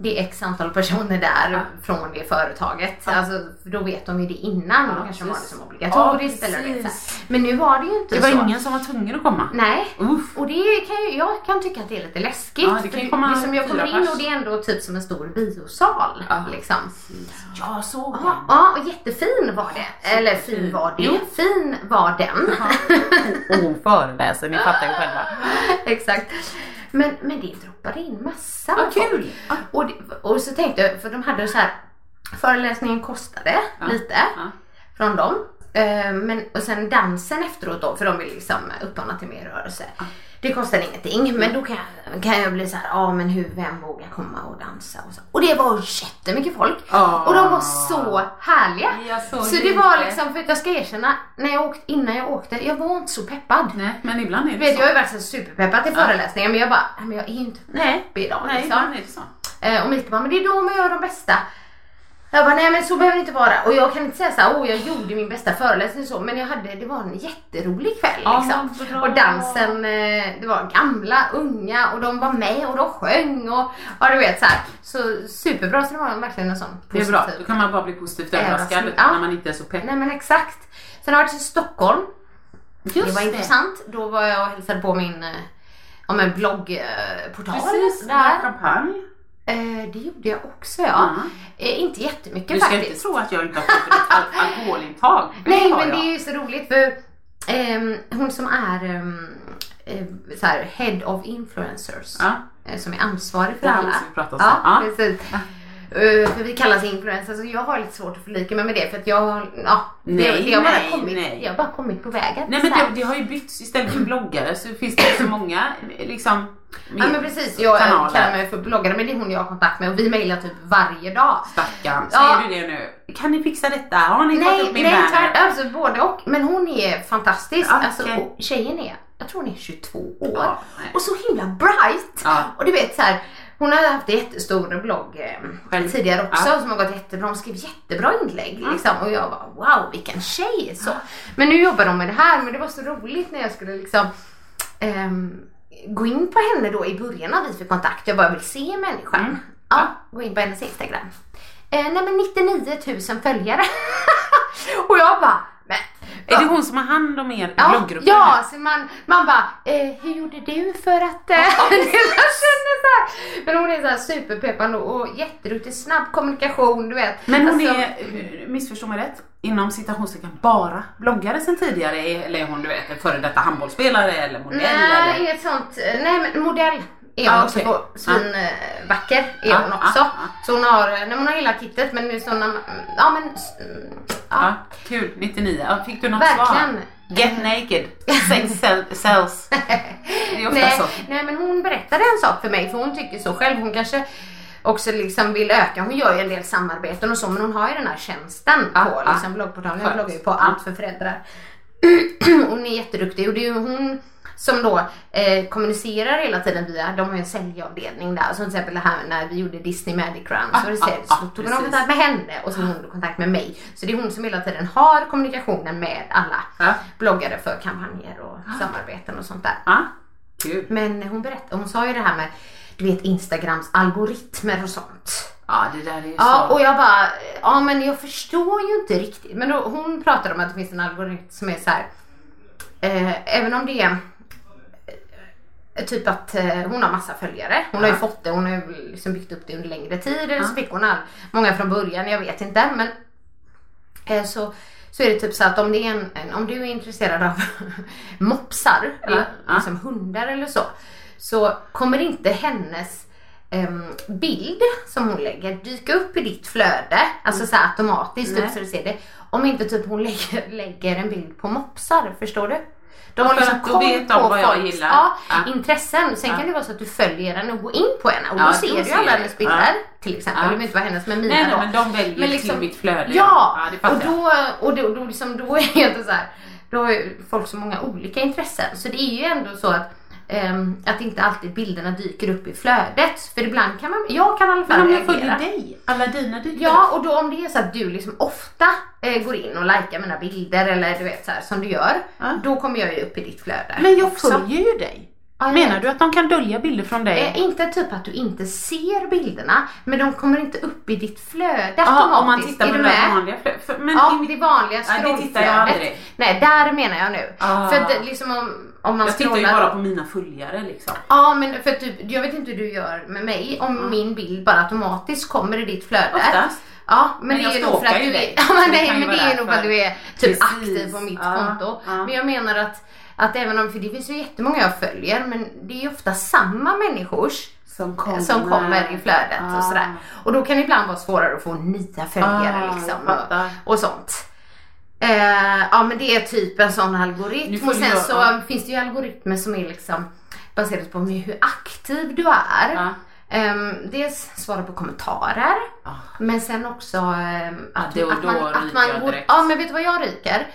G: det x antal personer där från det företaget. Alltså, för då vet de ju det innan.
E: Ja,
G: då kanske de har det
E: precis.
G: som obligatoriskt.
E: Ja,
G: eller du vet, så här.
E: precis.
G: Men nu var det ju inte
E: Det var
G: så.
E: ingen som var tvungen att komma.
G: Nej.
E: Uff.
G: Och det kan ju, jag kan tycka att det är lite läskigt.
E: Mm. Ja, det kan
G: för
E: ju komma
G: liksom jag kommer
E: fyra
G: in
E: pers.
G: och det är ändå typ som en stor biosal.
E: Ja.
G: Liksom.
E: Jag såg den.
G: Ja, ja, och jättefin var det. Eller fin var det.
E: Jo.
G: Fin var den.
E: Och hon föreläser, ni fattar ju själva.
G: Exakt. Men, men det droppade in massa
E: Vad
G: folk.
E: kul. Ja.
G: Och, det, och så tänkte jag, för de hade så här, föreläsningen kostade lite
E: Ja.
G: från dem. Eh, Men, och sen dansen efteråt då, för de vill liksom uppmana till mer rörelse. Det kostar
E: Mm.
G: ingenting, men då kan jag, kan jag bli så här, ja men hur, vem vågar komma och dansa? Och, så. och det var jättemycket folk.
E: Ja.
G: Och de var så härliga.
E: Jag såg
G: så
E: det
G: det var
E: inte.
G: liksom, för att jag ska erkänna, när jag åkte, innan jag åkte, jag var inte så peppad.
E: Nej, men ibland är
G: Du
E: det
G: vet,
E: så.
G: jag har ju varit så superpeppad till föreläsningar men jag bara, "Nej, men jag är ju inte
E: Nej,
G: pepp idag
E: Nej,
G: liksom.
E: ibland är det så.
G: Eh, Och Mikael bara, men det är då man gör de bästa. Jag bara, nej men så behöver det inte vara. Och jag kan inte säga så här, oh jag gjorde min bästa föreläsning och så, men jag hade, det var en jätterolig kväll
E: Ja,
G: liksom.
E: vad bra.
G: Och dansen, eh, det var gamla, unga och de var med och de sjöng och ja du vet så här. Så superbra, så det var verkligen en sån
E: Det är bra, då kan man bara bli positivt överraskad
G: Överraskning, ja.
E: när man inte är så pepp.
G: Nej men exakt. Sen har jag varit i Stockholm det var intressant. Då var jag och hälsade på min eh, ja, men bloggportal.
E: Precis, där.
G: där.
E: champagne.
G: Eh, det gjorde jag också ja.
E: Ja.
G: Eh, inte jättemycket
E: Du ska
G: faktiskt.
E: inte tro att jag inte har fått ett al- alkoholintag. för
G: Nej
E: det har
G: men det
E: jag.
G: är ju så roligt för ehm, hon som är ehm, eh, så här, head of influencers.
E: Ja.
G: eh, Som är ansvarig för
E: Det liksom
G: alla.
E: måste vi prata om
G: ja,
E: sen. Ja.
G: Precis. Eh, för vi kallas influencers och jag har lite svårt att förlika mig med det för att jag har, ja, det,
E: Nej,
G: det har
E: nej,
G: bara kommit,
E: nej.
G: jag har bara kommit på vägen.
E: Nej
G: så här.
E: men det, det har ju bytts istället för bloggare så finns det så många liksom
G: Ja men precis, jag eh,
E: kanaler.
G: kallar mig för bloggare men det är hon jag har kontakt med och vi mejlar typ varje dag.
E: Stackarn,
G: Ja.
E: säger du det nu? Kan ni fixa detta? Har ni fått
G: Nej,
E: upp min
G: nej
E: banner?
G: tvärt, alltså både och. Men hon är fantastisk.
E: Okej.
G: Alltså, och tjejen är, jag tror hon är 22 år
E: Ja, nej.
G: och så himla bright.
E: Ja.
G: Och du vet så här, hon har haft en jättestor blogg eh,
E: Själv.
G: tidigare också
E: Ja.
G: Alltså, som har gått jättebra. Hon skrev jättebra inlägg liksom. och jag bara wow vilken tjej. Så. Men nu jobbar de med det här men det var så roligt när jag skulle liksom ehm, gå in på henne då i början när vi fick kontakt. Jag bara vill se människan.
E: Mm.
G: Ja, gå in på hennes Instagram. Eh, nej men 99 000 följare. och jag bara men
E: Är det hon som har hand om er
G: Ja,
E: bloggrupp?
G: ja så man, man bara, eh, hur gjorde du för att... Eh, jag känner så här. Men hon är så här superpeppande och, och jätteduktig, snabb kommunikation, du vet.
E: Men hon
G: Alltså,
E: är, eh, missförstå mig rätt, inom citationstecken bara bloggare sen tidigare eller är hon du vet en före detta handbollsspelare eller modell
G: Nej,
E: eller?
G: är ett sånt, eh, nej men modell är hon
E: Ah,
G: också
E: okej.
G: på. Svinvacker är
E: Ah,
G: hon
E: ah,
G: också.
E: ah.
G: Så hon har, eh, nej, men hon har hela kittet men nu såna, mm, ja men, s- mm,
E: Ja,
G: ja.
E: kul, 99. Ja, Fick du något
G: Verkligen.
E: svar? Get naked, sex sell- sells. Det är ofta
G: nej,
E: så.
G: nej men hon berättade en sak för mig för hon tycker så själv. Hon kanske också liksom vill öka. Hon gör ju en del samarbeten och så men hon har ju den här tjänsten
E: Ja,
G: på
E: ja.
G: liksom, bloggportalen. Jag
E: Skönt.
G: bloggar ju på allt för föräldrar. hon är jätteduktig och det är ju hon som då eh, kommunicerar hela tiden via, de har ju en säljavdelning där. Som till exempel det här när vi gjorde Disney Magic Run så, var det
E: ah,
G: så,
E: ah,
G: så tog de
E: precis.
G: kontakt med henne och så hon kontakt med mig. Så det är hon som hela tiden har kommunikationen med alla
E: Ja. Ah.
G: bloggare för kampanjer och samarbeten och sånt där.
E: Ja, kul.
G: Men hon berättade, hon sa ju det här med du vet Instagrams algoritmer och sånt.
E: Ja, det där är ju
G: Ja
E: så.
G: och jag bara, ja men jag förstår ju inte riktigt. Men då, hon pratade om att det finns en algoritm som är så här. Eh, även om det är Typ att eh, hon har massa följare. Hon har ju fått det, hon har ju liksom byggt upp det under längre tid. Eller så fick hon all, många från början, jag vet inte. Men eh, så, så är det typ så att om, det är en, en, om du är intresserad av mopsar, eller
E: ja.
G: liksom hundar eller så. Så kommer inte hennes em, bild som hon lägger dyka upp i ditt flöde. Alltså så här automatiskt, typ,
E: Mm. Nej.
G: så du ser det. Om inte typ hon lägger, lägger en bild på mopsar, förstår du? De har
E: För
G: liksom
E: att då
G: koll
E: vet
G: på
E: de vad jag
G: folks
E: gillar.
G: Ja,
E: Ja.
G: intressen. Sen kan det vara så att du följer henne och går in på henne och
E: Ja,
G: då
E: då
G: ser du
E: ser
G: ju alla
E: jag.
G: hennes bilder.
E: Ja.
G: Till exempel,
E: Ja.
G: det behöver inte vara hennes men mina
E: Nej, nej,
G: då. liksom-
E: men de väljer till mitt flöde.
G: Ja,
E: Ja, det fattar
G: och, då, och då, då, liksom, då är det inte så här. Då har ju folk så många olika intressen. Så det är ju ändå så att ehm, att inte alltid bilderna dyker upp i flödet. För ibland kan man, jag kan i alla fall
E: Men om jag följer
G: reagera.
E: dig, alla dina dyker
G: Ja, och då om det är så att du liksom ofta eh, går in och likar mina bilder eller du vet så här som du gör.
E: Ja.
G: Då kommer jag ju upp i ditt flöde.
E: Men jag
G: också.
E: följer ju dig.
G: Ja, jag
E: Menar
G: vet.
E: du att de kan dölja bilder från dig?
G: Eh, inte typ att du inte ser bilderna, men de kommer inte upp i ditt flöde
E: Ja, om man
G: automatiskt.
E: tittar på
G: är
E: det
G: du
E: där
G: med?
E: vanliga flödet. För- Men
G: ja,
E: i
G: det
E: mitt-
G: vanliga
E: Ja, det tittar jag
G: scrollflödet.
E: aldrig.
G: Nej, där menar jag nu.
E: Ah.
G: För att det- liksom om, om man
E: Jag tittar ju
G: scrollar-
E: bara på mina följare liksom.
G: Ja, men för typ, jag vet inte hur du gör med mig om min bild bara automatiskt kommer i ditt flöde.
E: Ah. Oftast.
G: Ja, men,
E: Men
G: det
E: jag
G: är ju nog för att
E: stalkar ju
G: du är,
E: dig.
G: ja,
E: Så
G: men
E: det
G: nej,
E: kan ju
G: men det
E: vara
G: är nog för att
E: därför.
G: du är typ
E: Precis. Ah,
G: aktiv på mitt
E: Ja,
G: konto.
E: ja.
G: Men jag menar att, att även om, för det finns ju jättemånga jag följer, men det är ju ofta samma människors
E: Som kommer.
G: som kommer i flödet och
E: Ah.
G: sådär. Och då kan det ibland vara svårare att få nya följare
E: Ah,
G: liksom,
E: jag fattar.
G: och, och sånt. Eh, ja men det är typ en sån
E: Nu
G: algoritm
E: får
G: och
E: ju
G: sen
E: jag-
G: så
E: ja.
G: finns det ju algoritmer som är liksom baserat på hur aktiv du är.
E: Ja.
G: Ehm, dels svara på kommentarer
E: Ah.
G: men sen också ehm, att,
E: Ja, det-
G: att man,
E: då
G: att
E: ryker
G: man
E: jag
G: går,
E: direkt.
G: ja men vet du vad jag ryker?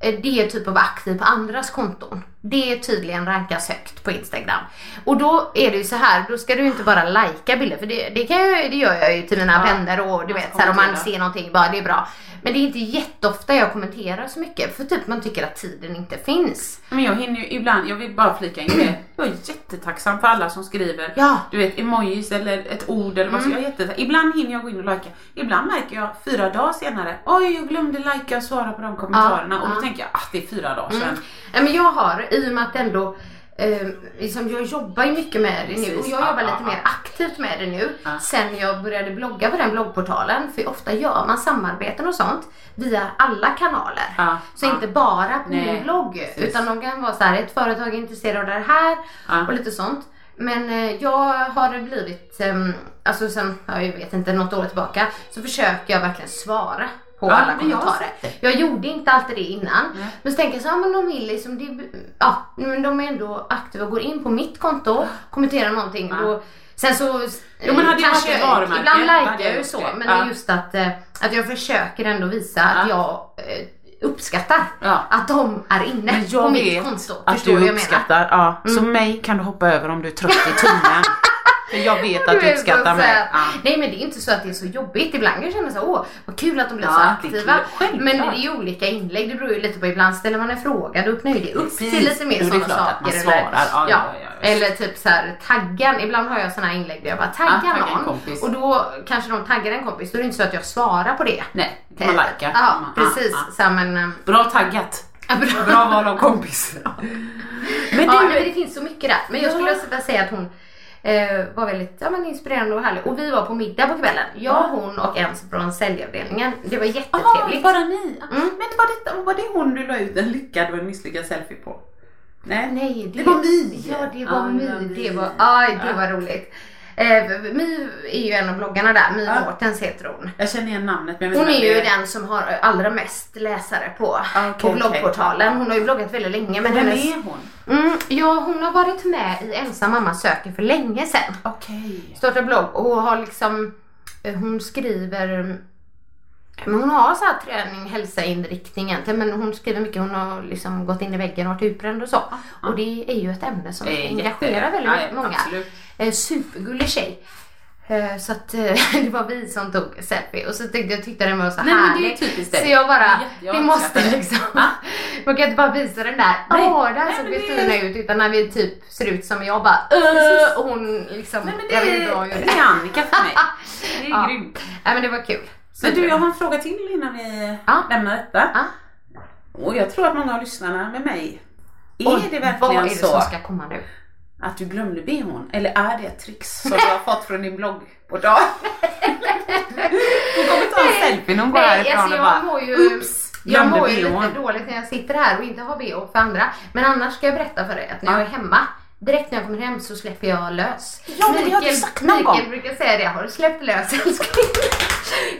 G: Eh, Det är typ att vara aktiv på andras konton. Det tydligen rankas högt på Instagram. Och då är det ju så här, då ska du ju inte bara lajka bilder för det, det, kan jag, det gör jag ju till mina vänner och du
E: man
G: vet
E: ska
G: så här, om man
E: kommentera.
G: ser någonting, bara det är bra. Men det är inte jätteofta jag kommenterar så mycket för typ man tycker att tiden inte finns.
E: Men jag hinner ju ibland, jag vill bara flika in det. Jag är jättetacksam för alla som skriver.
G: Ja. Mm.
E: Du vet emojis eller ett ord eller vad som jag är jättetacksam. Ibland hinner jag gå in och likea. Ibland märker jag fyra dagar senare, oj jag glömde likea och svara på de kommentarerna. och då tänker jag, ah det är fyra
G: Mm.
E: dagar sedan.
G: Ja, men jag har, i och med att ändå eh, liksom jag jobbar ju mycket med det nu och
E: Precis.
G: jag
E: Ja,
G: jobbar
E: ja,
G: lite
E: ja.
G: mer aktivt med det nu sen jag började blogga på den bloggportalen för ofta gör man samarbeten och sånt via alla kanaler.
E: Ja,
G: så
E: ja.
G: inte bara på
E: Nej,
G: min blogg
E: precis.
G: utan de kan vara så här, ett företag är intresserad av det här
E: Ja.
G: och lite sånt. Men eh, jag har blivit, ehm, alltså sen, ja, jag vet inte, något år tillbaka så försöker jag verkligen svara på
E: Ja,
G: alla
E: men jag har
G: kommentarer.
E: sett det.
G: Jag gjorde inte alltid det innan. Men så tänker jag så här, men de vill liksom, det, ja, men de är ändå aktiva och går in på mitt konto, kommenterar någonting. Då, sen så
E: Jo, men hade jag
G: kanske
E: haft ett
G: jag-
E: varumärke,
G: ibland
E: hade
G: likar
E: jag
G: jag ju
E: gjort
G: så.
E: det.
G: Men
E: Ja.
G: just att, eh, att jag försöker ändå visa att jag eh, uppskattar
E: Ja.
G: att de är inne
E: Men jag
G: på
E: vet
G: mitt konto.
E: att
G: Förstår vad
E: du
G: jag menar? Mm.
E: uppskattar. Ja. Så mig kan du hoppa över om du är trött i timmen. För jag vet att
G: Du
E: du
G: är så
E: uppskattar mig.
G: söt.
E: Ja.
G: Nej men det är inte så att det är så jobbigt. Ibland kan jag känna så här, åh vad kul att de blir
E: Ja,
G: så
E: det är kul.
G: aktiva.
E: Självklart.
G: Men det är ju olika inlägg, det beror ju lite på. Ibland ställer man en fråga, då öppnar ju det upp
E: Precis.
G: till lite mer
E: Jo, det är
G: sådana
E: klart att man
G: saker.
E: svarar. Ja, ja, ja, ja.
G: Eller typ så här, taggan. Ibland har jag sådana inlägg där jag bara taggar
E: Ja, tagga en
G: någon.
E: kompis.
G: Och då kanske de taggar en kompis, då är det inte så att jag svarar på det.
E: Nej, man likar.
G: Ja,
E: Man-
G: precis.
E: ja, ja.
G: Så här, men, ehm,
E: Bra taggat.
G: ja, bra.
E: Bra val av kompis. Men
G: Ja,
E: du,
G: nej, men det finns så mycket där. Men jag skulle också vilja säga att hon eh, var väldigt ja, men inspirerande och härlig. Och vi var på middag på kvällen. Jag, hon och en från säljavdelningen. Det var
E: Jaha,
G: jättetrevligt.
E: Ah, bara ni?
G: Mm.
E: Men var det, var det hon du la ut en lyckad och en misslyckad selfie på? Nej,
G: Nej,
E: det, var My.
G: Ja, det var
E: Ja,
G: My.
E: My.
G: Det var, aj, det var roligt. Eh, My är ju en av bloggarna där. My
E: Ja.
G: Mårtens heter hon.
E: Jag känner igen namnet men jag
G: Hon
E: vet
G: är
E: inte
G: ju
E: om det
G: den som har allra mest läsare på,
E: Ah, okej,
G: på bloggportalen.
E: okej.
G: Hon har ju bloggat väldigt länge. Men
E: Vem
G: hennes,
E: är hon?
G: mm, ja, hon har varit med i Ensam mamma söker för länge sedan.
E: Okej.
G: startar blogg och har liksom, eh, hon skriver, eh, men hon har så här träning, hälsa inriktning egentligen men hon skriver mycket, hon har liksom gått in i väggen och varit utbränd och så. Och det är ju ett ämne som
E: Det är
G: engagerar
E: jätte-
G: väldigt
E: ja, ja,
G: många.
E: absolut.
G: Eh, Supergullig tjej. Eh, Så att eh, det var vi som tog selfie och så tyckte jag tyckte den var så
E: Nej, men det är
G: härlig.
E: ju typiskt dig.
G: Så jag bara,
E: Jag
G: vi måste
E: uppskattar det.
G: liksom.
E: Ja.
G: Man kan inte bara visa den där,
E: Nej.
G: åh där
E: Nej,
G: såg
E: men det är- Äh.
G: Kristina ut utan när vi typ ser ut som jag bara, "Öh", och hon liksom,
E: Nej men
G: jag vet
E: det,
G: inte vad hon gjorde.
E: det är Annika för mig. Det är
G: Ja.
E: grymt.
G: Nej men det var kul.
E: Men du jag har en fråga till innan vi
G: Ja.
E: lämnar detta.
G: Ja.
E: Och jag tror att många av lyssnarna med mig. Är
G: Oj,
E: det
G: Vad är
E: verkligen
G: det
E: så?
G: som ska komma nu?
E: Att du glömde bhn? Eller är det ett trix som du har fått från din blogg på dag? Hon kommer ta en selfie när hon går
G: Nej,
E: härifrån
G: alltså
E: och bara
G: jag mår ju,
E: Ups!
G: jag
E: glömde
G: mår ju
E: bhn.
G: lite dåligt när jag sitter här och inte har bh för andra. Men annars ska jag berätta för dig att när jag är hemma, direkt när jag kommer hem så släpper jag lös.
E: Ja, men det har du sagt någon
G: Mikael
E: gång.
G: brukar säga det, har du släppt lös älskling?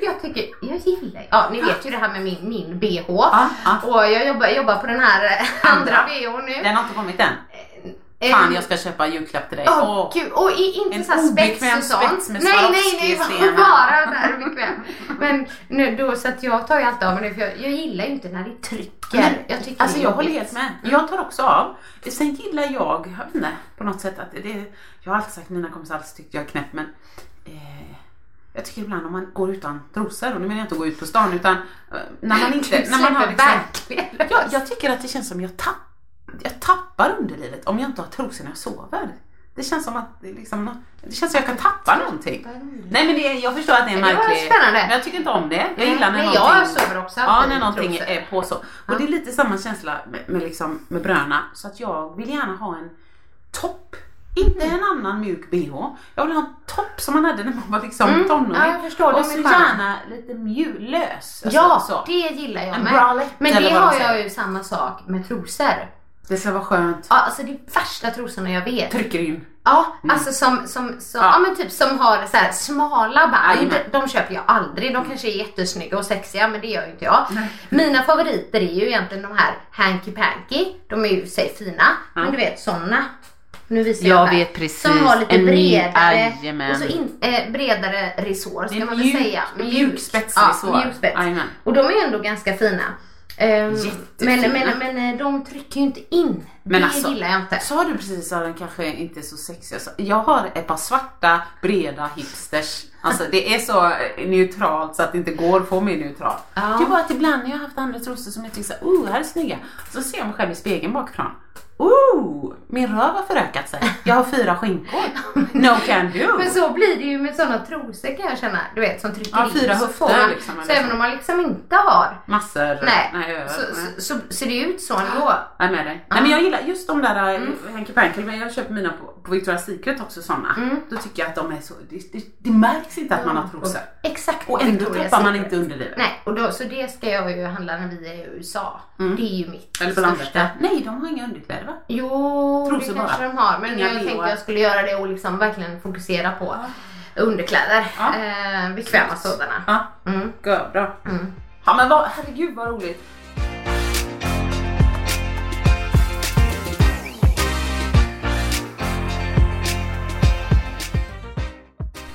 G: Jag tycker, jag gillar Ja, ni vet ju det här med min, min bh.
E: Ja, ja.
G: Och jag jobbar, jobbar på den här eh, andra,
E: Andra.
G: bh nu.
E: Den har inte kommit än.
G: Eh,
E: Fan jag ska köpa en julklapp till dig.
G: Åh
E: Åh.
G: gud, och i, inte
E: En
G: såhär spets
E: obekväm
G: och sånt.
E: spets med
G: nej, nej, nej, bara-
E: Swarovski-stenar.
G: bara där obekväm. Men nu, då, så att jag tar ju alltid av mig det för jag, jag gillar ju inte när det trycker. Jag tycker
E: alltså
G: det är
E: jag håller
G: jobbigt. Mm.
E: helt med. Jag tar också av. Sen gillar jag, jag vet inte, på något sätt att det, jag har alltid sagt, mina kompisar har alltid tyckt jag är knäpp men eh, jag tycker ibland om man går utan trosor, och nu menar jag inte att gå ut på stan utan eh, när man inte,
G: Du
E: när man har
G: släpper
E: liksom,
G: verkligen lös.
E: jag, jag tycker att det känns som jag, tapp, jag tappar underlivet om jag inte har trosor när jag sover. Det känns som att det, är liksom, nå- det känns som jag kan tappa någonting. Nej men det, är- jag förstår att det är
G: var
E: märkligt.
G: spännande.
E: Men jag tycker inte om det. Jag
G: Nej,
E: gillar när
G: men jag
E: någonting...
G: sover också
E: Ja,
G: alltid
E: när
G: i
E: någonting
G: trosor.
E: är på så. Och det är lite samma känsla med, med, liksom, med bröna. Så att jag vill gärna ha en topp. Inte
G: Mm.
E: en annan mjuk bh. Jag vill ha en topp som man hade när man var liksom tonåring.
G: Mm. ja, jag förstår.
E: och
G: Den
E: så
G: är skön.
E: gärna lite mjul, lös. Alltså,
G: Ja,
E: så.
G: det gillar jag
E: En
G: med.
E: bralette
G: Men
E: eller
G: det
E: vad de
G: har jag
E: säger.
G: ju samma sak med trosor.
E: det ska vara skönt.
G: Ja, alltså det är värsta trosorna jag vet.
E: Trycker in.
G: Ja, alltså som, som, som ja.
E: Mm. Ja.
G: men typ som har så här smala band.
E: Jajamän.
G: De köper jag aldrig. De kanske är jättesnygga och sexiga men det gör ju inte jag. Mina favoriter är ju egentligen de här Hanky Panky. De är ju i och för sig fina. Men du vet sådana. Nu visar jag,
E: Jag
G: här.
E: vet precis.
G: Som har lite
E: En ny-
G: bredare,
E: Jajamän.
G: och så in, eh, bredare resår
E: Det
G: ska
E: är
G: man väl
E: mjuk-
G: säga.
E: mjuk spetsresår.
G: Ja, mjuk spets.
E: Jajamän.
G: Och de är ju ändå ganska fina. Ehm, men,
E: Jättefina.
G: men, men eh, de trycker ju inte in.
E: Men
G: det
E: alltså,
G: gillar jag inte.
E: Sa du precis att den kanske inte är så sexig? Alltså, Jag har ett par svarta, breda hipsters. Alltså det är så eh, neutralt så att det inte går att få mer neutralt. Det är bara att ibland när jag har haft andra trosor som jag tycker såhär, oh här är snygga. Så ser jag mig själv i spegeln bakifrån. Oh, min röv har förökat sig. Jag har fyra skinkor. No can do.
G: Men så blir det ju med sådana trosor kan jag känna. Du vet som trycker
E: Ja,
G: in.
E: fyra
G: så
E: höfter
G: får man,
E: liksom, eller
G: Så även
E: så.
G: om man liksom inte har.
E: Massor.
G: Nej.
E: jag-
G: så, Så, så ser det ut så ändå.
E: Jag är med dig. Nej, men jag gillar just de där eh, Hanky Panky, men jag köper mina på, på Victoria's Secret också sådana. Då tycker jag att de är så, det, det, det märks inte att man har trosor.
G: Exakt.
E: Och ändå
G: Victoria's
E: tappar man
G: Secret.
E: inte underlivet.
G: Nej, och då, så det ska jag ju handla när vi är i USA. Det är ju mitt
E: Mm. Eller på
G: största.
E: landet. Nej, de har inga underkläder va?
G: Jo,
E: Trosor
G: det kanske
E: bara.
G: de har. Men
E: Inga
G: jag
E: bh.
G: tänkte jag skulle göra det och liksom verkligen fokusera på underkläder.
E: Ja.
G: Eh, bekväma sådana.
E: Ja,
G: Mm.
E: Gud, bra. Ja men vad, herregud vad roligt.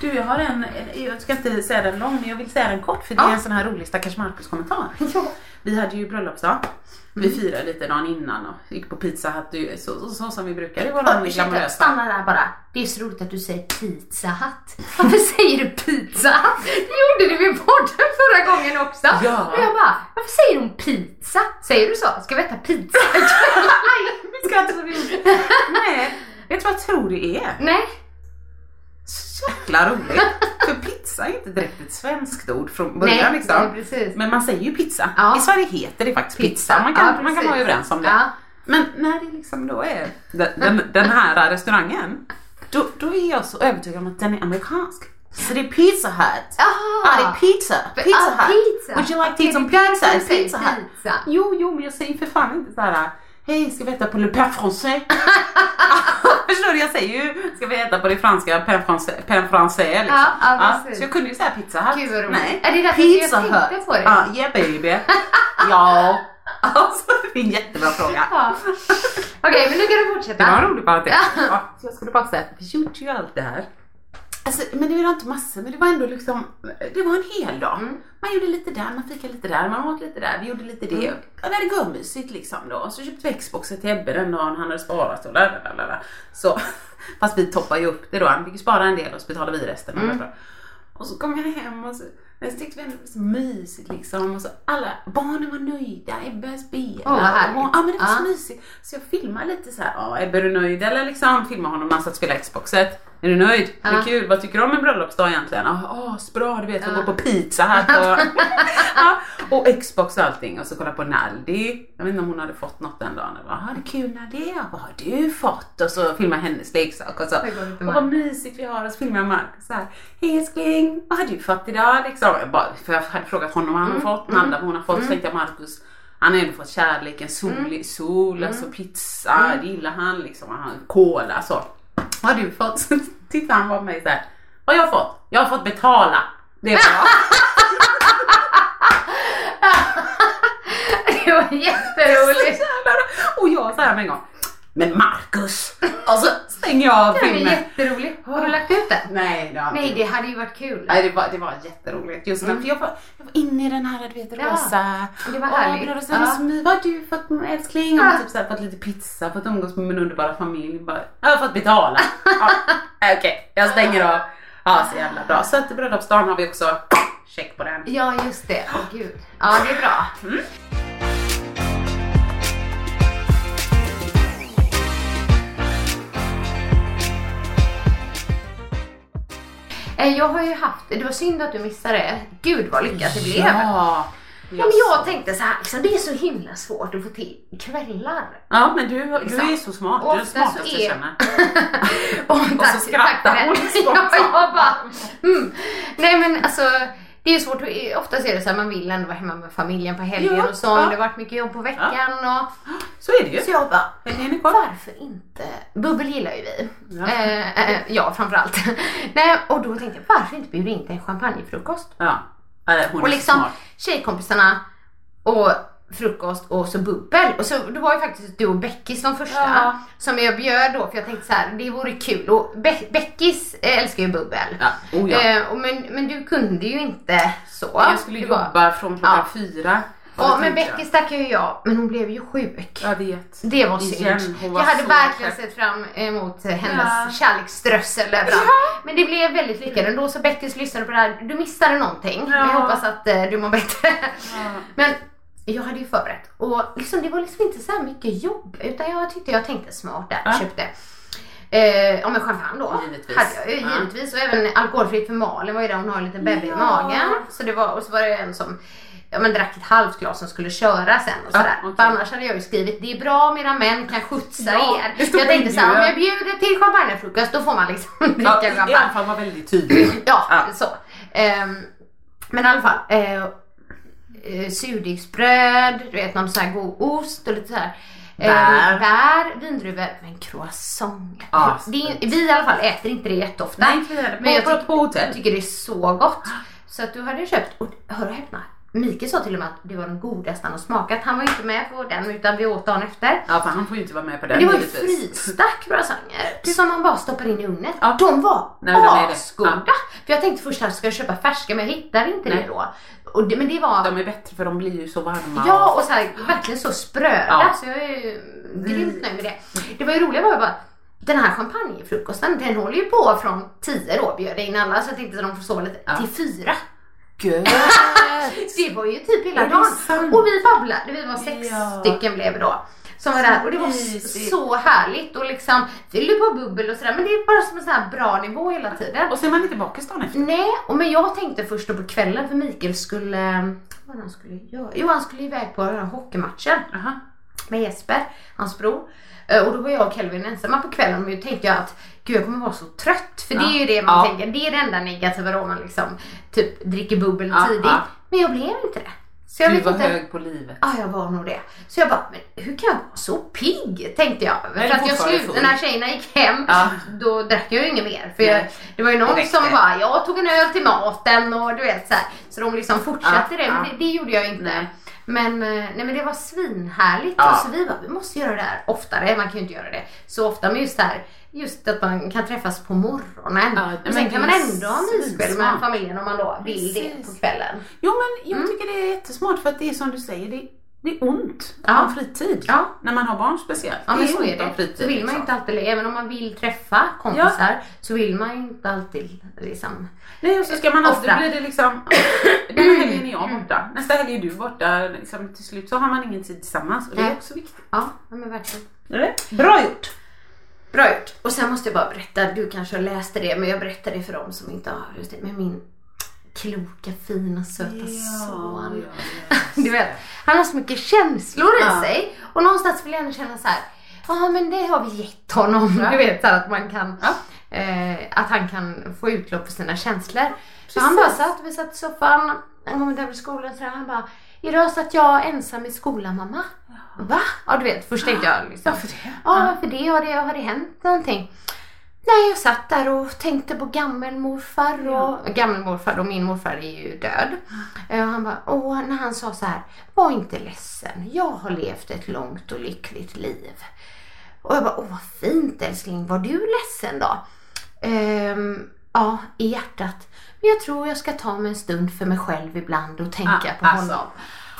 E: Du, jag har en, jag ska inte säga den lång, men jag vill säga den kort för det är
G: Ja.
E: en sån här rolig stackars Marcus-kommentar. Vi hade ju bröllopsdag. Vi
G: Mm.
E: firade lite dagen innan och gick på pizza hut, det är ju så, så, så som vi brukar i våra
G: Ja,
E: oh,
G: Ursäkta,
E: glamorösa.
G: stanna där bara. Det är så roligt att du säger pizza hut. Varför säger du pizza hut? Det gjorde du vid podden förra gången också.
E: Ja.
G: Och jag bara, varför säger hon pizza? Säger du så? Ska vi äta pizza ikväll?
E: Vi ska inte så roligt. Nej, vet du vad jag tror det är?
G: Nej.
E: Så jäkla roligt. För pizza är inte direkt ett svenskt ord från början
G: Nej,
E: liksom.
G: nej, precis.
E: Men man säger ju pizza.
G: Ja.
E: I Sverige heter det faktiskt pizza. Man, kan,
G: Ja,
E: man kan vara
G: precis.
E: överens om det.
G: Ja.
E: Men när det liksom då är den, den, den här restaurangen, då, då är jag så övertygad om att den är amerikansk. Så det är pizza hut.
G: Jaha.
E: Ja, det är pizza.
G: För-
E: Pizza
G: ah,
E: hut.
G: pizza.
E: Would you like to
G: Det är
E: eat some
G: det där
E: pizza?
G: som
E: It's
G: säger
E: Pizza hut.
G: pizza.
E: Jo, jo, men jag säger för fan inte så här. Hej, ska vi äta på Le Pain Français? Förstår du? Jag säger ju, ska vi äta på det franska Pain Français, pain français liksom.
G: Ja, ja, precis.
E: så jag kunde ju säga pizza hut.
G: Gud, vad roligt.
E: Nej,
G: Är det därför
E: pizza
G: jag tänkte på det?
E: Ja, yeah baby. ja. Alltså, det är en jättebra fråga.
G: Ja. Okej, men nu kan du fortsätta.
E: Det var en rolig parentes. Ja, så jag skulle bara säga att vi gjorde ju allt det här. Alltså, men det var inte massor, men det var ändå liksom, det var en hel dag. Man gjorde lite där, man fikade lite där, man åt lite där, vi gjorde lite det. Ja, vi hade gummysigt liksom då. Och så köpte vi Xboxen till Ebbe den dagen han hade sparat och lalalala. Så, fast vi toppade ju upp det då. Han fick ju spara en del och så betalade vi resten. och det var bra. Och så kom jag hem och så men så tyckte vi ändå det var så mysigt liksom. Och så alla barnen var nöjda, Ebbe började spela.
G: Åh, vad härligt.
E: Och- ja men det var så
G: Ja.
E: mysigt. Så jag filmade lite så här, ja Ebbe är du nöjd? Eller liksom filmade honom när han satt och spelade Xboxet. Är du nöjd? Det är
G: Ja.
E: kul. Vad tycker du om en bröllopsdag egentligen? "Ah, Ja, asbra. Du vet, jag går på pizza här på... ja, och Xbox och allting. Och så kolla på Naldi. Jag vet inte om hon hade fått något den dagen. Eller, ah, det är kul Naldi. Ja, vad har du fått? Och så filmar jag hennes leksak. Och så,
G: Det går inte
E: och vad mysigt vi har. Och så filmar jag Marcus så här. Hej älskling, vad har du fått idag? Liksom. Jag bara, för jag hade frågat honom vad han har fått. Nanda vad hon har fått. Så tänkte jag Marcus. Han har ändå fått kärleken, sol, sol alltså pizza, det gillar han liksom. Han, cola så. Vad har du fått? Så tittar han på mig såhär. Vad har jag fått? Jag har fått betala. Det är bra.
G: Det var jätteroligt.
E: Så jävla roligt. Och jag såhär med en gång. Men Marcus! Och så stänger jag av
G: Det var
E: filmen.
G: jätteroligt. Har du lagt ut den?
E: Nej, det har jag inte gjort.
G: Nej, det hade ju varit kul.
E: Nej, det var, det var jätteroligt. Just den, för jag var, jag var inne i den här, du vet,
G: Mm. Ja.
E: rosa.
G: Det var
E: Åh,
G: härligt.
E: bröder och
G: Ja.
E: söner, Vad har du fått älskling? Och
G: Ja.
E: typ så här, fått lite pizza, fått umgås med min underbara familj. Bara, jag har fått betala. ja. Okej, jag stänger av. Ja, så jävla bra. Så att bröllopsdagen har vi också check på den.
G: Ja, just det. Åh, gud. Ja, det är bra. Mm. Eh, Jag har ju haft, det var synd att du missade det. Gud vad lyckat det blev.
E: Ja.
G: Ja, men jag tänkte så här, liksom, det är så himla svårt att få till kvällar.
E: Ja, men du, du är så smart. Du är den
G: Ofta så
E: smartaste jag
G: är-
E: känner.
G: och,
E: Och så skrattar hon
G: Ja,
E: spontant.
G: jag bara, mm. Nej men alltså, det är ju svårt. Oftast är det så här, man vill ändå vara hemma med familjen på helgen
E: Ja,
G: och så.
E: ja.
G: Det har varit mycket jobb på veckan och
E: Så är det ju.
G: så jag bara,
E: Helgen är kort.
G: varför inte? Bubbel gillar ju vi.
E: Ja.
G: Eh, eh, jag framförallt. Nej, och då tänkte jag, varför inte bjuda in till en champagnefrukost?
E: Ja, Eh, hon
G: Och
E: är så
G: liksom
E: smart.
G: tjejkompisarna och frukost och så bubbel. Och så, det var ju faktiskt du och Beckis de första
E: Ja.
G: som jag bjöd då för jag tänkte så här, det vore kul. Och Be- Beckis eh, älskar ju bubbel.
E: Ja, oh ja.
G: Eh, och men, men du kunde ju inte så.
E: Jag skulle
G: Det var-
E: jobba från klockan
G: Ja.
E: fyra. Och
G: Ja,
E: då
G: men
E: tänkte jag-
G: Beckis tackade ju jag, men hon blev ju sjuk.
E: Jag vet.
G: Det var
E: Igen,
G: synd.
E: hon var
G: Jag hade
E: så
G: verkligen
E: knäpp.
G: sett fram emot eh,
E: Ja.
G: hennes kärleksströssel där fram. Men det blev väldigt lyckat ändå så Beckis lyssnade på det här. Du missade någonting. Men jag
E: Ja.
G: hoppas att eh, du mår bättre. Men jag hade ju förberett och liksom, det var liksom inte så här mycket jobb utan jag tyckte jag tänkte smart där och
E: Ja.
G: köpte Eh, om en champagne då.
E: Givetvis.
G: Hade jag ju
E: Ja.
G: givetvis. Och även alkoholfritt för Malin var ju där hon har en liten bebbe
E: Ja.
G: i magen. Så det var, och så var det en som ja, men drack ett halvt glas som skulle köra sen och
E: Ja,
G: sådär.
E: okej.
G: För annars hade jag ju skrivit det är bra om era män kan skjutsa
E: Ja,
G: er.
E: det stod
G: Jag tänkte såhär,
E: ju,
G: om
E: ja.
G: jag bjuder till champagnefrukost då får man liksom dricka
E: Ja, I alla
G: champagne.
E: fall var väldigt tydlig.
G: Ja,
E: Ja.
G: så. Ehm, men i alla fall. Eh, eh, surdegsbröd, du vet någon sån här god ost och lite så här. eh,
E: Bär.
G: bär, vindruvor, men croissant.
E: Ja,
G: det är, vi i alla fall äter inte det jätteofta.
E: Nej, inte vi heller.
G: men jag
E: På- på-
G: tyck-
E: på hotell.
G: jag tycker det är så gott. Så att du hade köpt, och hör och häpna, Mikael sa till och med att det var den godaste han har smakat. Han var ju inte med på den utan vi åt dagen efter.
E: Ja, för han får ju inte vara med på den
G: Men det var ju
E: givetvis.
G: frysta croissanter som man bara stoppar in i ugnen.
E: Ja.
G: De var
E: Nej, men de är det.
G: asgoda! För jag tänkte först att jag ska köpa färska men jag hittade inte
E: Nej.
G: det då. Och det, men det var...
E: De är bättre för de blir ju så varma.
G: Ja och så här, verkligen så spröda
E: Ja. Mm.
G: så jag är ju grymt nöjd med det. Det var ju roliga var ju bara att den här champagnefrukosten den håller ju på från 10 då bjöd jag in alla så jag tänkte att de får sova lite till 4.
E: Gud.
G: Det var ju typ hela
E: Är det
G: dagen.
E: sant?
G: Och vi babblade, vi var sex
E: Ja.
G: stycken blev det då. Som var där och det var
E: mysigt.
G: så härligt och liksom fyllde på bubbel och sådär men det är bara som en sån här bra nivå hela tiden.
E: Och så är man inte bakis dagen efter.
G: Nej, och men jag tänkte först då på kvällen för Mikael skulle, vad han skulle göra? Jo han skulle iväg på den här hockeymatchen
E: Aha.
G: med Jesper, hans bror. Eh, Och då var jag och Kelvin ensamma på kvällen och då tänkte jag att gud jag kommer vara så trött. För det är ju det man
E: Ja.
G: tänker, det är det enda negativa då man liksom typ dricker bubbel
E: Ja,
G: tidigt.
E: ja.
G: Men jag blev inte det. Så jag
E: Du
G: vet
E: var
G: inte. Ah,
E: hög på livet.
G: Ja, jag var nog det. Så jag bara, men hur kan jag vara så pigg? Tänkte jag.
E: Nej,
G: för att jag
E: fortfarande
G: slutade,
E: full.
G: när tjejerna gick hem,
E: Ja.
G: då drack jag ju inget mer. För jag,
E: Nej.
G: det var ju någon
E: Det räckte.
G: som bara, jag tog en öl till maten och du vet så här. Så de liksom fortsatte
E: Ja,
G: det, men
E: ja.
G: det, det gjorde jag inte.
E: Nej.
G: Men, eh, nej, men det var svinhärligt.
E: Ja.
G: Och så vi bara, vi måste göra det här oftare. Man kan ju inte göra det så ofta, men just det här. Just att man kan träffas på morgonen.
E: Ja,
G: och
E: men
G: sen kan
E: det
G: man
E: är
G: ändå ha myskväll med
E: svinsmart.
G: familjen om man då vill det på
E: Precis.
G: kvällen. Mm.
E: Jo men jag tycker det är jättesmart för att det är som du säger, det, det är ont att
G: Ja.
E: ha fritid.
G: Ja.
E: När man har barn speciellt.
G: Ja men
E: det
G: så är
E: ont att ha
G: det.
E: Fritid,
G: Så vill man ju
E: liksom.
G: inte alltid, även om man vill träffa kompisar så vill man ju inte alltid liksom.
E: Nej och så ska man alltid,
G: Offra.
E: då blir det liksom, den här helgen är
G: Mm.
E: jag borta, nästa helg är du borta. Liksom, till
G: Eh,
E: slut så har man ingen tid tillsammans och det är
G: Nej.
E: också viktigt.
G: Ja, ja, men verkligen.
E: Bra gjort!
G: Bra gjort. Och sen måste jag bara berätta, du kanske har läst det, men jag berättar det för dem som inte har just det. Men min kloka, fina, söta son. Du vet, han har så mycket känslor i sig. Och någonstans vill jag ändå känna så här, ja men det har vi gett honom. Du vet, så här, att man kan, eh, att han kan få utlopp för sina känslor. Så han bara satt, vi satt i soffan, han kom hem från skolan så där, han bara, idag satt jag ensam i skolan mamma. Va? Ja du vet, först tänkte jag liksom.
E: Varför det?
G: Ja, varför det? Har det, har det hänt någonting? Nej, jag satt där och tänkte på gammelmorfar. Och, Gammelmorfar då, min morfar är ju död. Eh, Och han bara, åh, när han sa så här, var inte ledsen, jag har levt ett långt och lyckligt liv. Och jag bara, åh vad fint älskling, var du ledsen då? Ehm, ja, i hjärtat. Men jag tror jag ska ta mig en stund för mig själv ibland och tänka
E: Ah,
G: på
E: alltså.
G: honom.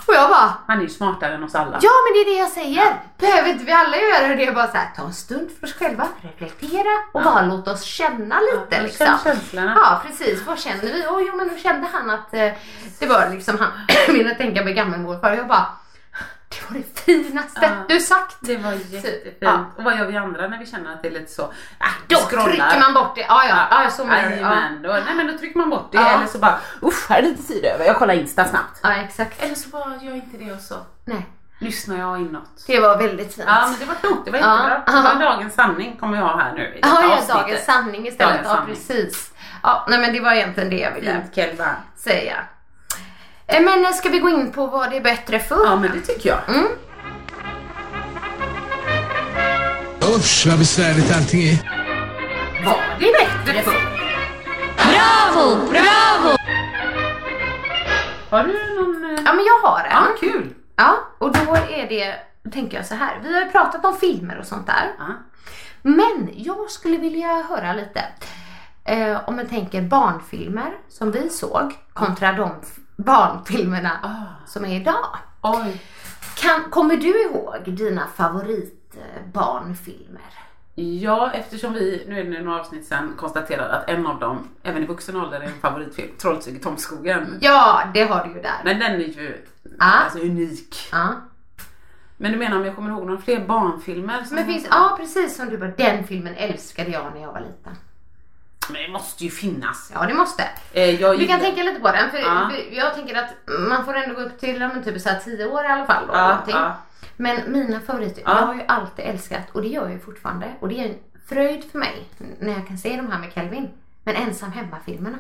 G: Och jag bara,
E: Han är ju smartare än oss alla.
G: Ja men det är det jag säger! Behöver inte vi alla göra det? Bara så här, ta en stund för oss själva, reflektera och bara låta oss känna lite.
E: känn
G: liksom.
E: känslorna.
G: Ja precis, vad känner vi? Oh, jo men då kände han att eh, det var liksom han ville tänka med gammelmorfar och jag bara Det var det finaste
E: Ja.
G: du sagt!
E: Det var jättefint.
G: Ja.
E: Och vad gör vi andra när vi känner att det är lite så? Ah,
G: Då trycker man bort det, ja ja, ja så menar du. ja.
E: Jajamän, då, nej men då trycker man bort det
G: Ja.
E: eller så bara uff här är lite tid över, jag kollar Insta snabbt.
G: ja exakt.
E: Eller så bara gör inte det och så
G: Nej,
E: lyssnar jag inåt.
G: det var väldigt fint.
E: Ja men det var klokt, det var
G: Ja.
E: jättebra. Det var
G: Ja.
E: dagens sanning kommer jag ha här nu i
G: Ja,
E: detta
G: ja,
E: avsnittet.
G: dagens sanning istället.
E: Dagens
G: Ja,
E: sanning.
G: precis. Ja, nej, men det var egentligen det jag ville
E: Fint Kelva.
G: säga. Eh, Men eh, ska vi gå in på vad det är bättre för?
E: Ja men det tycker jag.
I: Usch vad besvärligt allting är.
E: Var det bättre förr?
F: Bravo, bravo!
E: Har du någon... eh,
G: Ja, men jag har en.
E: Ja, kul.
G: Ja, och då är det, tänker jag så här. Vi har ju pratat om filmer och sånt där.
E: Ja.
G: Men jag skulle vilja höra lite eh, om man tänker barnfilmer som vi såg kontra de f- barnfilmerna som är idag.
E: Oj.
G: Kan, kommer du ihåg dina favoritbarnfilmer?
E: Ja, eftersom vi, nu är det några avsnitt sedan, konstaterade att en av dem, även i vuxen ålder, är en favoritfilm. Trolltyg i Tomskogen.
G: Ja, det har du ju där.
E: Men den är ju
G: Ah.
E: alltså, unik.
G: ja.
E: Men du menar om jag kommer ihåg några fler barnfilmer? Som
G: Men finns, ja precis som du bara, den filmen älskade jag när jag var liten.
E: Men det måste ju finnas.
G: Ja det måste.
E: Eh, jag
G: Du
E: gillar-
G: kan tänka lite på den för
E: Ja.
G: för jag tänker att man får ändå gå upp till ja, men typ så här 10 år i alla fall. Då,
E: Ja,
G: eller någonting.
E: ja.
G: Men mina favoriter,
E: Ja.
G: jag har ju alltid älskat och det gör jag ju fortfarande och det är en fröjd för mig när jag kan se de här med Calvin. Men ensam hemma-filmerna.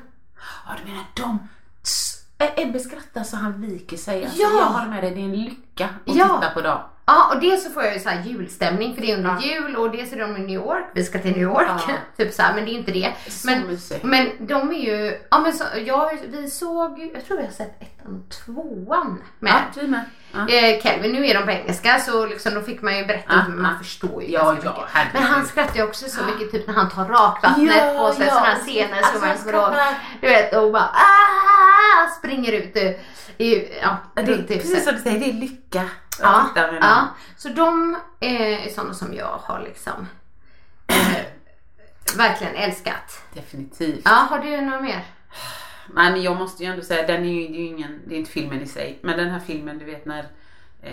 E: Ja, du menar de... Tss, eh, Ebbe skrattar så han viker sig. Alltså,
G: Ja.
E: Jag håller med dig, det är en lycka att
G: Ja.
E: titta på dem.
G: Ja och dels så får jag ju så här julstämning för det är under jul och dels är de i New York, vi ska till New York.
E: Ja.
G: typ så här, men det är inte det.
E: Så
G: Men,
E: mysigt.
G: men de är ju, ja men så, jag, vi såg, ju- jag tror vi har sett ettan och tvåan med.
E: Ja, du med. Ja.
G: Eh, Kelvin, nu är de på engelska så liksom, då fick man ju berätta,
E: Ja,
G: men man
E: ja.
G: förstår ju
E: Ja,
G: ganska
E: ja,
G: mycket.
E: herregud.
G: Men han skrattar ju också så mycket typ när han tar rakvattnet
E: Ja,
G: på sig,
E: ja.
G: sådana här scener
E: Alltså,
G: som man
E: han
G: kommer ihåg.
E: skrattar.
G: Du vet, och bara ah, springer ut i, i ja,
E: Det är
G: runt huset.
E: precis som du säger, det är lycka.
G: Ja,
E: att titta med
G: ja.
E: dem.
G: Så de eh, är sådana som jag har liksom eh, verkligen älskat.
E: Definitivt.
G: Ja, har du några mer?
E: Nej men jag måste ju ändå säga, den är ju, det är ju ingen, det är inte filmen i sig, men den här filmen du vet när eh,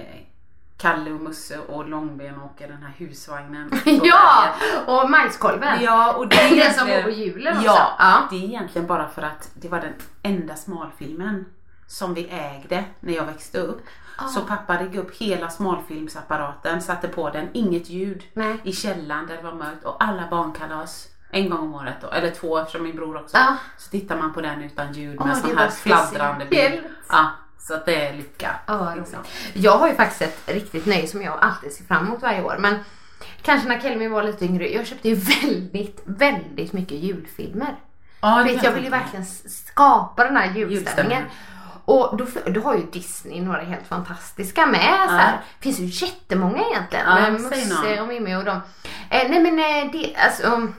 E: Kalle och Musse och Långben åker den här husvagnen. på
G: Ja,
E: berget.
G: och majskolven.
E: Ja, och det är
G: Den som
E: egentligen-
G: går på julen också.
E: ja,
G: Ja.
E: det är egentligen bara för att det var den enda smalfilmen som vi ägde när jag växte upp. Så pappa riggade upp hela smalfilmsapparaten, satte på den, inget ljud
G: Nej.
E: i källaren där det var mörkt och alla barnkalas en gång om året då, eller två eftersom min bror också.
G: Ja.
E: Så tittar man på den utan ljud
G: Åh,
E: med
G: det
E: sån
G: var
E: här fladdrande bild.
G: speciellt.
E: Ja, så att det är lycka. liksom.
G: Ja, vad roligt. Jag har ju faktiskt ett riktigt nöje som jag alltid ser fram emot varje år. Men kanske när Kelmi var lite yngre. Jag köpte ju väldigt, väldigt mycket julfilmer.
E: Ja, det
G: Vet, jag vill ju verkligen s- skapa den här julstämningen.
E: Julstämningen.
G: Och då, då har ju Disney några helt fantastiska med. Så här. Det finns ju jättemånga egentligen.
E: Ja,
G: med
E: säg
G: Musse
E: någon.
G: och Mimmi och dem. Eh, nej men eh, det, alltså, um,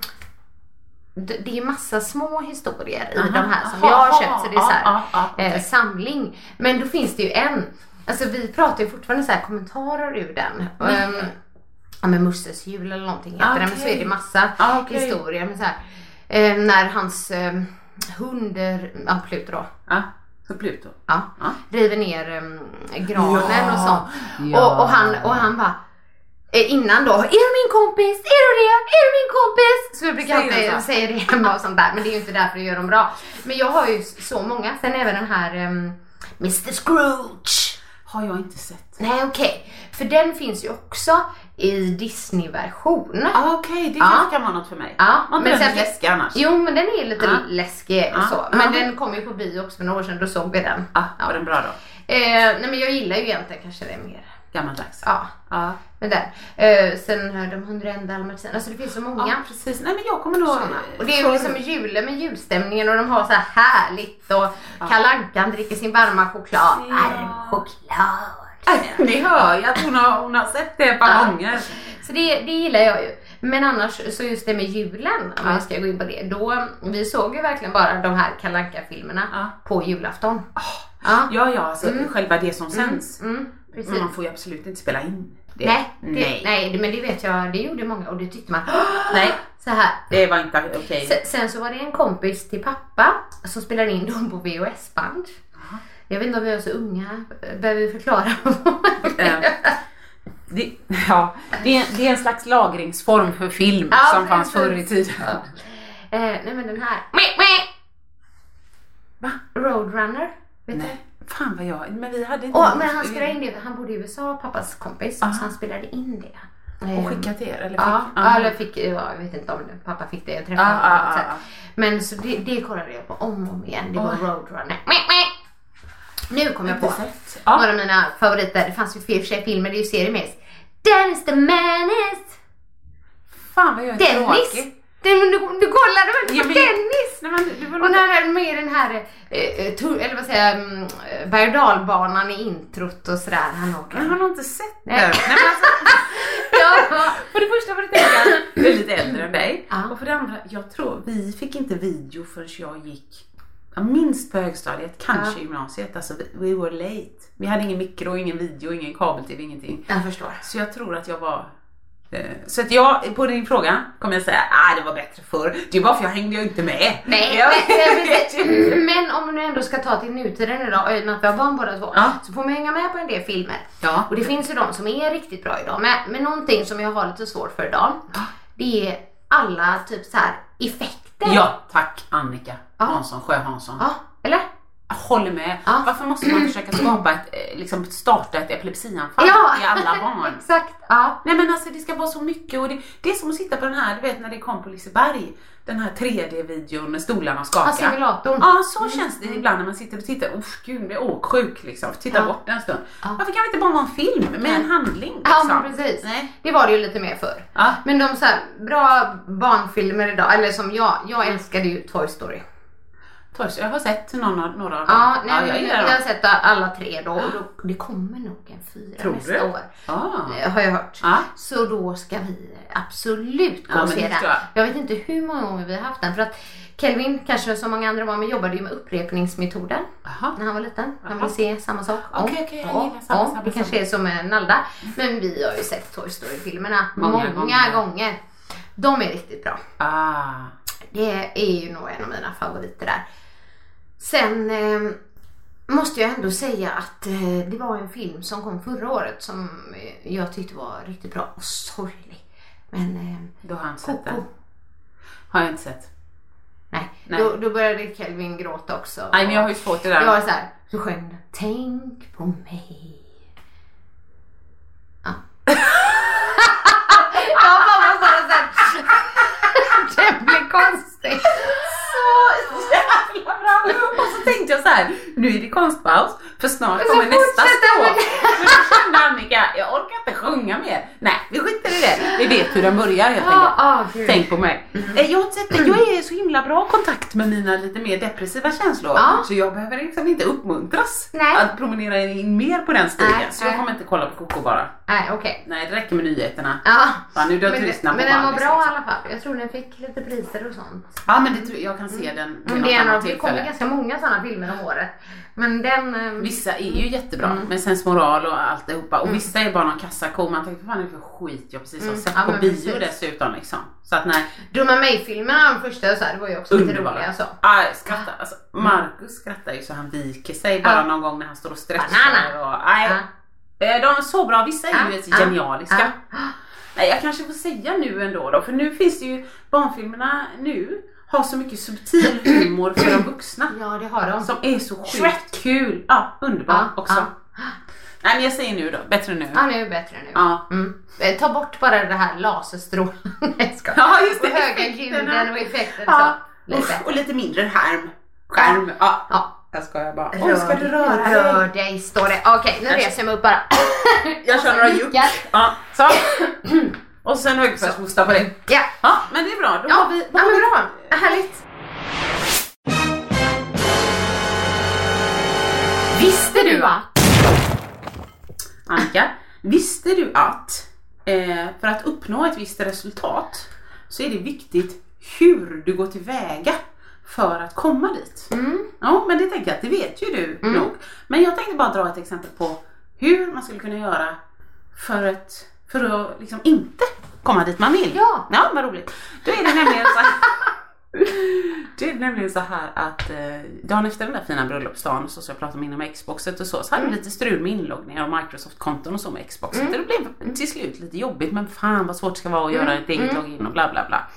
G: det, det är ju massa små historier i de här som
E: Aha,
G: jag har
E: aha,
G: köpt. Så det är så här,
E: ja, ja, ja,
G: eh,
E: okej.
G: samling. Men då finns det ju en. Alltså vi pratar ju fortfarande så här kommentarer ur den. Um, ja men Musses jul eller någonting heter den. Men så är det
E: Mm. Okej.
G: massa
E: Ah, okej.
G: historier. Men så här, eh, när hans eh, hund, eh, ja Pluto då,
E: Ja, så Pluto.
G: ja,
E: Ja.
G: river ner eh, granen
E: Ja,
G: och sånt.
E: ja.
G: Och, och han, och han bara eh, innan då. Är du min kompis? Är du det? Är du min kompis? Så jag brukar
E: Säger de
G: alltid
E: så?
G: säga det hemma och sånt där. Men det är ju inte därför jag gör dem bra. Men jag har ju så många. Sen även den här ehm, Mr Scrooge.
E: Har jag inte sett.
G: Nej okej. För den finns ju också i Disney-version.
E: Ah, Okej, det
G: Ja.
E: kanske kan vara något för mig.
G: Ja,
E: Var inte den
G: sen-
E: läskig annars?
G: Jo, men den är lite
E: Ja.
G: läskig och
E: Ja,
G: så. Men
E: ja.
G: den kom ju på bio också för några år sedan, då såg vi den.
E: Ah, Var den bra då?
G: Eh, nej men jag gillar ju egentligen kanske det mer.
E: Gammaldags?
G: Ja,
E: Ja.
G: men den. Eh, sen hör de 101 dalmatiner. Alltså det finns så många.
E: ja, precis. Nej men jag kommer nog...
G: Såna. Och det är ju liksom julen med julstämningen och de har så här härligt och Kalle Ankan dricker sin varma choklad.
E: Ja.
G: Varm choklad.
E: Ni hör ju att hon har, hon har sett det ett par
G: Ja.
E: gånger.
G: Så det, det gillar jag ju. Men annars så just det med julen, om jag ska gå in på det. Då, vi såg ju verkligen bara de här Kalle Anka-filmerna
E: Ja.
G: på julafton. Ja.
E: Ja, ja, alltså själva det som sänds.
G: Mm, precis.
E: Men man får ju absolut inte spela in det.
G: Nej, det, nej.
E: nej.
G: det- men det vet jag, det gjorde många och det tyckte man
E: Nej,
G: så här.
E: det var inte okej.
G: Sen, sen så var det en kompis till pappa som spelade in dem på VHS-band. Jag vet inte om vi var så unga, behöver vi förklara?
E: Eh, Det, ja, det, är, det är en slags lagringsform för film
G: Ja,
E: som fanns
G: precis.
E: förr i tiden.
G: eh, nej men den här,
E: Va?
G: Roadrunner. Vet du?
E: Nej, fan vad jag... Men vi hade inte...
G: Åh, men han spelade in det, han bodde i USA, pappas kompis, så han spelade in det.
E: Ah. Och
G: Ehm,
E: skicka till er? Eller fick, Ah.
G: Ja,
E: Ja.
G: eller fick, ja, jag vet inte om det- pappa fick det, jag träffade
E: Ja,
G: honom på
E: ja,
G: något
E: ja,
G: sätt.
E: ja.
G: Men så det, det kollade jag på om och om igen, det var
E: Oj.
G: Roadrunner. Meh, meh. Nu kom jag på
E: Inte sett. Ja.
G: några av mina favoriter, det fanns ju fler tjejer filmer, det är ju serier med. Dennis the Menace!
E: Fan vad jag är
G: Dennis!
E: tråkig.
G: Den, du, du kollade väl
E: Ja,
G: på
E: men-
G: Dennis?
E: Nej, men du- du var
G: Och när han är med i den här, eh, eh, tur, eller vad säger jag, mm, eh, berg och dalbanan i introt och sådär. Han åker.
E: Jag har nog inte sett den.
G: Nej.
E: Nej, men alltså,
G: Ja.
E: för det första var det tänka, jag är lite äldre än dig.
G: Ja.
E: Och för det andra, jag tror vi fick inte video förrän jag gick jag minst på högstadiet, kanske gymnasiet. Alltså, vi- we were late. Vi hade ingen mikro, ingen video, ingen kabel-tv, ingenting.
G: Jag förstår.
E: Så jag tror att jag var... eh, Så att jag, på din fråga, kommer jag säga ah, det var bättre förr. Det var för jag hängde ju inte med.
G: Nej,
E: jag
G: men, eh,
E: vet ju inte.
G: men, men om du ändå ska ta till nutiden idag, och i och med att vi har barn båda två,
E: Ja.
G: så får man hänga med på en del filmer.
E: Ja.
G: Och det finns ju de som är riktigt bra idag, men, men någonting som jag har lite svårt för idag, det är alla typ så här effekter.
E: Ja, tack Annika
G: Ja.
E: Hansson, Sjö Hansson.
G: Ja, eller?
E: Jag håller med.
G: Ja.
E: Varför måste man försöka skapa ett, eh, liksom starta ett epilepsianfall i alla barn?
G: Exakt, ja.
E: Nej men alltså det ska vara så mycket och det, det är som att sitta på den här, du vet när det kom på Liseberg, den här 3D-videon när stolarna skakar.
G: Ja, simulatorn. Mm.
E: Ja, så känns det ibland när man sitter och tittar. Usch gud, jag blir åksjuk liksom. Titta
G: Ja.
E: bort en stund.
G: Ja.
E: Varför kan det inte bara vara en film med en handling?
G: Ja
E: Liksom?
G: men precis.
E: Nej.
G: Det var det ju lite mer förr.
E: Ja.
G: Men de så här, bra barnfilmer idag, eller som jag,
E: Mm.
G: jag älskade ju Toy Story.
E: Törs, jag har sett någon, av- några av dem.
G: Ja, nej,
E: jag
G: jag,
E: gillar
G: jag har
E: dem. Ah.
G: sett alla tre då och då, det kommer nog en fyra
E: Tror
G: nästa
E: du? Ah.
G: år.
E: Ja.
G: Eh, Har jag hört.
E: Ja.
G: Så då ska vi absolut gå
E: Ja,
G: och
E: men
G: se
E: det
G: den.
E: ska jag.
G: Jag vet inte hur många gånger vi har haft den för att Kelvin, kanske som många andra var, men jobbade ju med upprepningsmetoden
E: Jaha.
G: när han var liten. Han
E: Jaha.
G: ville se samma sak om
E: Okej, okej, jag
G: och
E: gillar samma,
G: om.
E: samma,
G: Det
E: samma.
G: kanske är som med Nalda. Men vi har ju sett Toy Story-filmerna
E: Många
G: många,
E: gånger.
G: gånger. De är riktigt bra.
E: Ah.
G: Det är ju nog en av mina favoriter där. Sen eh, måste jag ändå säga att eh, det var en film som kom förra året som eh, jag tyckte var riktigt bra och sorglig. Men eh,
E: Då har han sett
G: Coco.
E: den. Har jag inte sett.
G: Nej,
E: Nej.
G: Då, då började Kelvin gråta också.
E: Nej men jag har ju svårt det där.
G: Jag var såhär, så sjöng den, Tänk på mig. Ja. jag bara var bara såhär. Den blev konstig.
E: Så jävla bra! Och så tänkte jag så här, nu är det konstpaus för snart
G: Så
E: kommer nästa
G: fortsätter
E: stråk.
G: vi.
E: Men då kände Annika, jag orkar inte sjunga mer. Nej, vi skiter i det. Vi vet hur den börjar helt
G: Ja,
E: enkelt.
G: ah, gud. Mm.
E: Tänk på mig. Eh, Jag, har inte sett det. jag är så himla bra kontakt med mina lite mer depressiva känslor.
G: Ja.
E: Så jag behöver liksom inte uppmuntras
G: Nej.
E: att promenera in mer på den stigen.
G: Nej,
E: så jag
G: nej.
E: kommer inte kolla på Coco bara.
G: Nej okej.
E: Nej, det räcker med nyheterna.
G: Ja.
E: Fan, nu dör
G: men
E: turisterna på
G: men den var
E: Mallis,
G: bra i
E: liksom.
G: alla fall. Jag tror den fick lite priser och sånt.
E: Ja, men det, tror- jag kan se den vid
G: Men Mm,
E: något
G: det, är en av,
E: annat
G: det kommer
E: tillfälle.
G: ganska många sådana filmer om året. Men den... eh,
E: Vissa är ju jättebra
G: Mm.
E: med sensmoral och alltihopa och vissa är bara någon kassako. Man tänker vad fan är det för skit jag precis har
G: Mm.
E: sett
G: Ja,
E: på
G: men
E: bio
G: precis.
E: dessutom liksom. Så att nej,
G: Dumma mig-filmerna, de första och så här, det var ju också lite
E: underbara.
G: roliga. Ah. Så.
E: Aj, skratta. Alltså, Marcus skrattar ju så han viker sig bara
G: Ja.
E: någon gång när han står och stretchar.
G: Ah. Banana. Ah.
E: Och, nej,
G: Ja.
E: Eh, De är så bra, vissa är
G: Ja,
E: ju
G: ja,
E: genialiska.
G: ja.
E: Nej, jag kanske får säga nu ändå då, för nu finns det ju barnfilmerna nu har så mycket subtil humor för de vuxna.
G: Ja, det har de.
E: Som är så sjukt
G: Alltså, Shrek.
E: kul. Ja, underbar
G: Ja,
E: också.
G: ja.
E: Nej, men jag säger nu då. Bättre nu.
G: Ja, nu är det bättre nu.
E: Ja.
G: Mm. Eh, Ta bort bara det här laserstrålen. Nej, jag skojar.
E: Ja, just det,
G: Och höga
E: effekterna.
G: ljuden och effekter.
E: Ja.
G: Så. Lite.
E: Usch, och lite mindre skärm. Skärm. Ja.
G: Ja.
E: Jag skojar bara. Oj, ska du röra
G: Rör
E: dig?
G: dig står det. Okej, nu reser jag mig upp bara.
E: Jag kör
G: Alltså,
E: några juck. Ja, så. Och sen högfärdshosta på det.
G: Ja.
E: Ja, men det är bra. Då har vi...
G: ja, men bra. Härligt. Visste du att?
E: Annika, visste du att eh, för att uppnå ett visst resultat så är det viktigt hur du går tillväga för att komma dit? Ja, men det tänker jag att det vet ju du nog. Men jag tänkte bara dra ett exempel på hur man skulle kunna göra för att, för att liksom inte komma dit man vill.
G: Ja.
E: ja vad roligt. Då är det nämligen så här, det är nämligen så här att eh, dagen efter den där fina bröllopsdagen så, så jag pratade med inom Xboxet och så, så hade
G: Mm.
E: vi lite strul med inloggningar och Microsoft-konton och så med Xboxet. Och Det
G: Mm.
E: blev till slut lite jobbigt men fan vad svårt det ska vara att göra ett eget login
G: Mm.
E: och bla bla bla.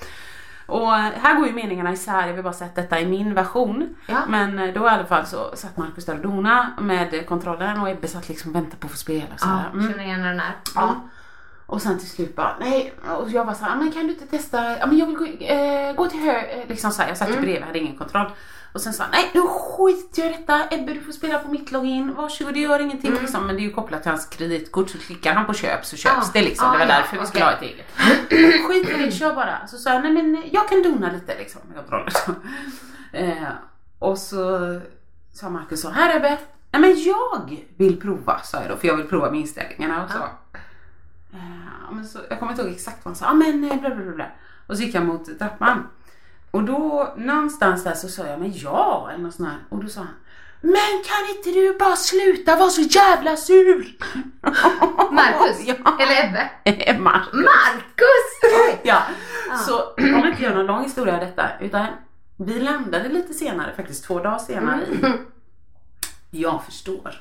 E: Och eh, här går ju meningarna isär, jag vill bara säga att detta är min version.
G: Ja.
E: Men eh, då i alla fall så satt Marcus där och dona med eh, kontrollen och Ebbe satt liksom och väntade på att få spela. och Så
G: Ja,
E: här. Mm.
G: känner igen den här.
E: Ja. Och sen till slut bara, nej. Och jag var så här, "Ah, men kan du inte testa, ja men jag vill gå, eh, gå till höger. Liksom så här, jag satt ju
G: Mm.
E: bredvid, hade ingen kontroll. Och sen sa han, nej nu skiter jag i detta. Ebbe du får spela på mitt login, varsågod det gör ingenting.
G: Mm.
E: Liksom, men det är ju kopplat till hans kreditkort så klickar han på köp så köps
G: Ah.
E: det liksom.
G: Ah,
E: det var
G: ja,
E: därför vi skulle
G: okej.
E: ha ett eget. Skit i det, kör bara. Så sa jag, nej men eh, jag kan dona lite liksom med kontrollen. eh, och så sa Marcus så, här Ebbe. Nej men jag vill prova sa jag då, för jag vill prova med inställningarna och så.
G: Ah.
E: Ja, men så, jag kommer inte ihåg exakt vad han sa. Ah, men eh, bla, bla, bla, bla. Och så gick jag mot trappan. Och då någonstans där så sa jag men ja eller något sånt här. Och då sa han men kan inte du bara sluta vara så jävla sur?
G: Marcus?
E: Ja.
G: Eller Ebbe?
E: Marcus.
G: Marcus! Oj.
E: Ja. Så om inte gör någon lång historia av detta utan vi landade lite senare, faktiskt två dagar senare i jag förstår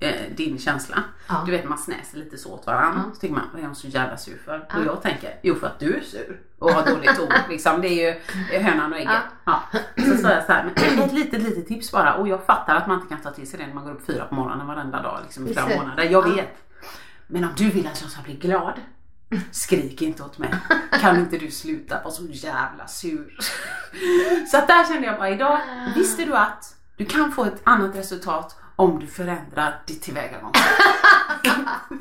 E: eh, din känsla.
G: Ja.
E: Du vet man snäser lite så åt varandra. Så tycker man, vad är hon så jävla sur för? Och jag tänker, jo för att du är sur och har dåligt ton. Liksom. Det är ju det är hönan och ägget. Ja. Så sa jag så här, men ett litet litet tips bara. Och jag fattar att man inte kan ta till sig det när man går upp fyra på morgonen varenda dag liksom, i flera
G: Precis.
E: månader. Jag vet. Men om du vill att jag ska bli glad, skrik inte åt mig. Kan inte du sluta vara så jävla sur? Så att där kände jag bara idag, visste du att du kan få ett annat resultat om du förändrar ditt tillvägagångssätt.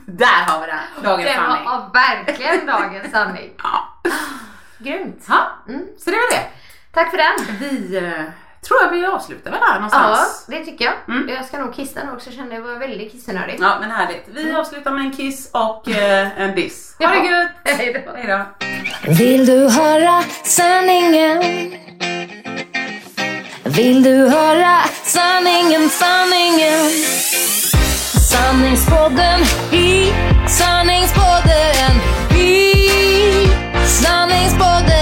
E: där har vi den, dagens
G: Det var
E: sanning.
G: ja, verkligen dagens sanning.
E: Ja.
G: Grymt.
E: Ja,
G: Mm.
E: så det var det.
G: Tack för den.
E: Vi eh, tror jag vi avslutar väl här
G: Ja,
E: någonstans.
G: det tycker jag.
E: Mm.
G: Jag ska nog kissa nu också, kände jag var väldigt kissnödig.
E: Ja, men härligt. Vi avslutar med en kiss och eh, en diss. Mm. Ha det
G: Ja.
E: gött!
G: Hej då.
E: Hej då.
F: Vill du höra sanningen? Vill du höra sanningen, sanningen? Sanningspodden i sanningspodden i sanningspodden.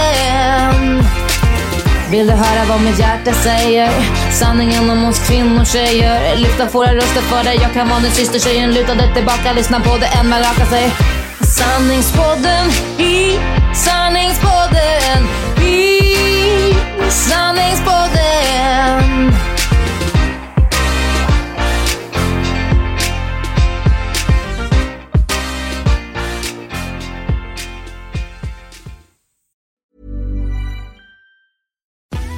F: Vill du höra vad mitt hjärta säger? Sanningen om oss kvinnor, tjejer. Lyfta våra röster för dig. Jag kan vara din syster, tjejen. Luta dig tillbaka, lyssna på det än man rakar sig. Sanningspodden i sanningspodden i sanningspodden.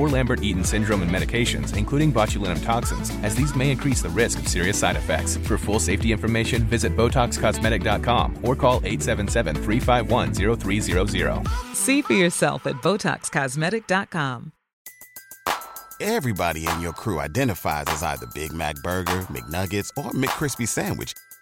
A: or Lambert-Eaton syndrome and medications, including botulinum toxins, as these may increase the risk of serious side effects. For full safety information, visit BotoxCosmetic.com or call 877-351-0300.
B: See for yourself at BotoxCosmetic.com.
C: Everybody in your crew identifies as either Big Mac Burger, McNuggets, or McCrispy Sandwich,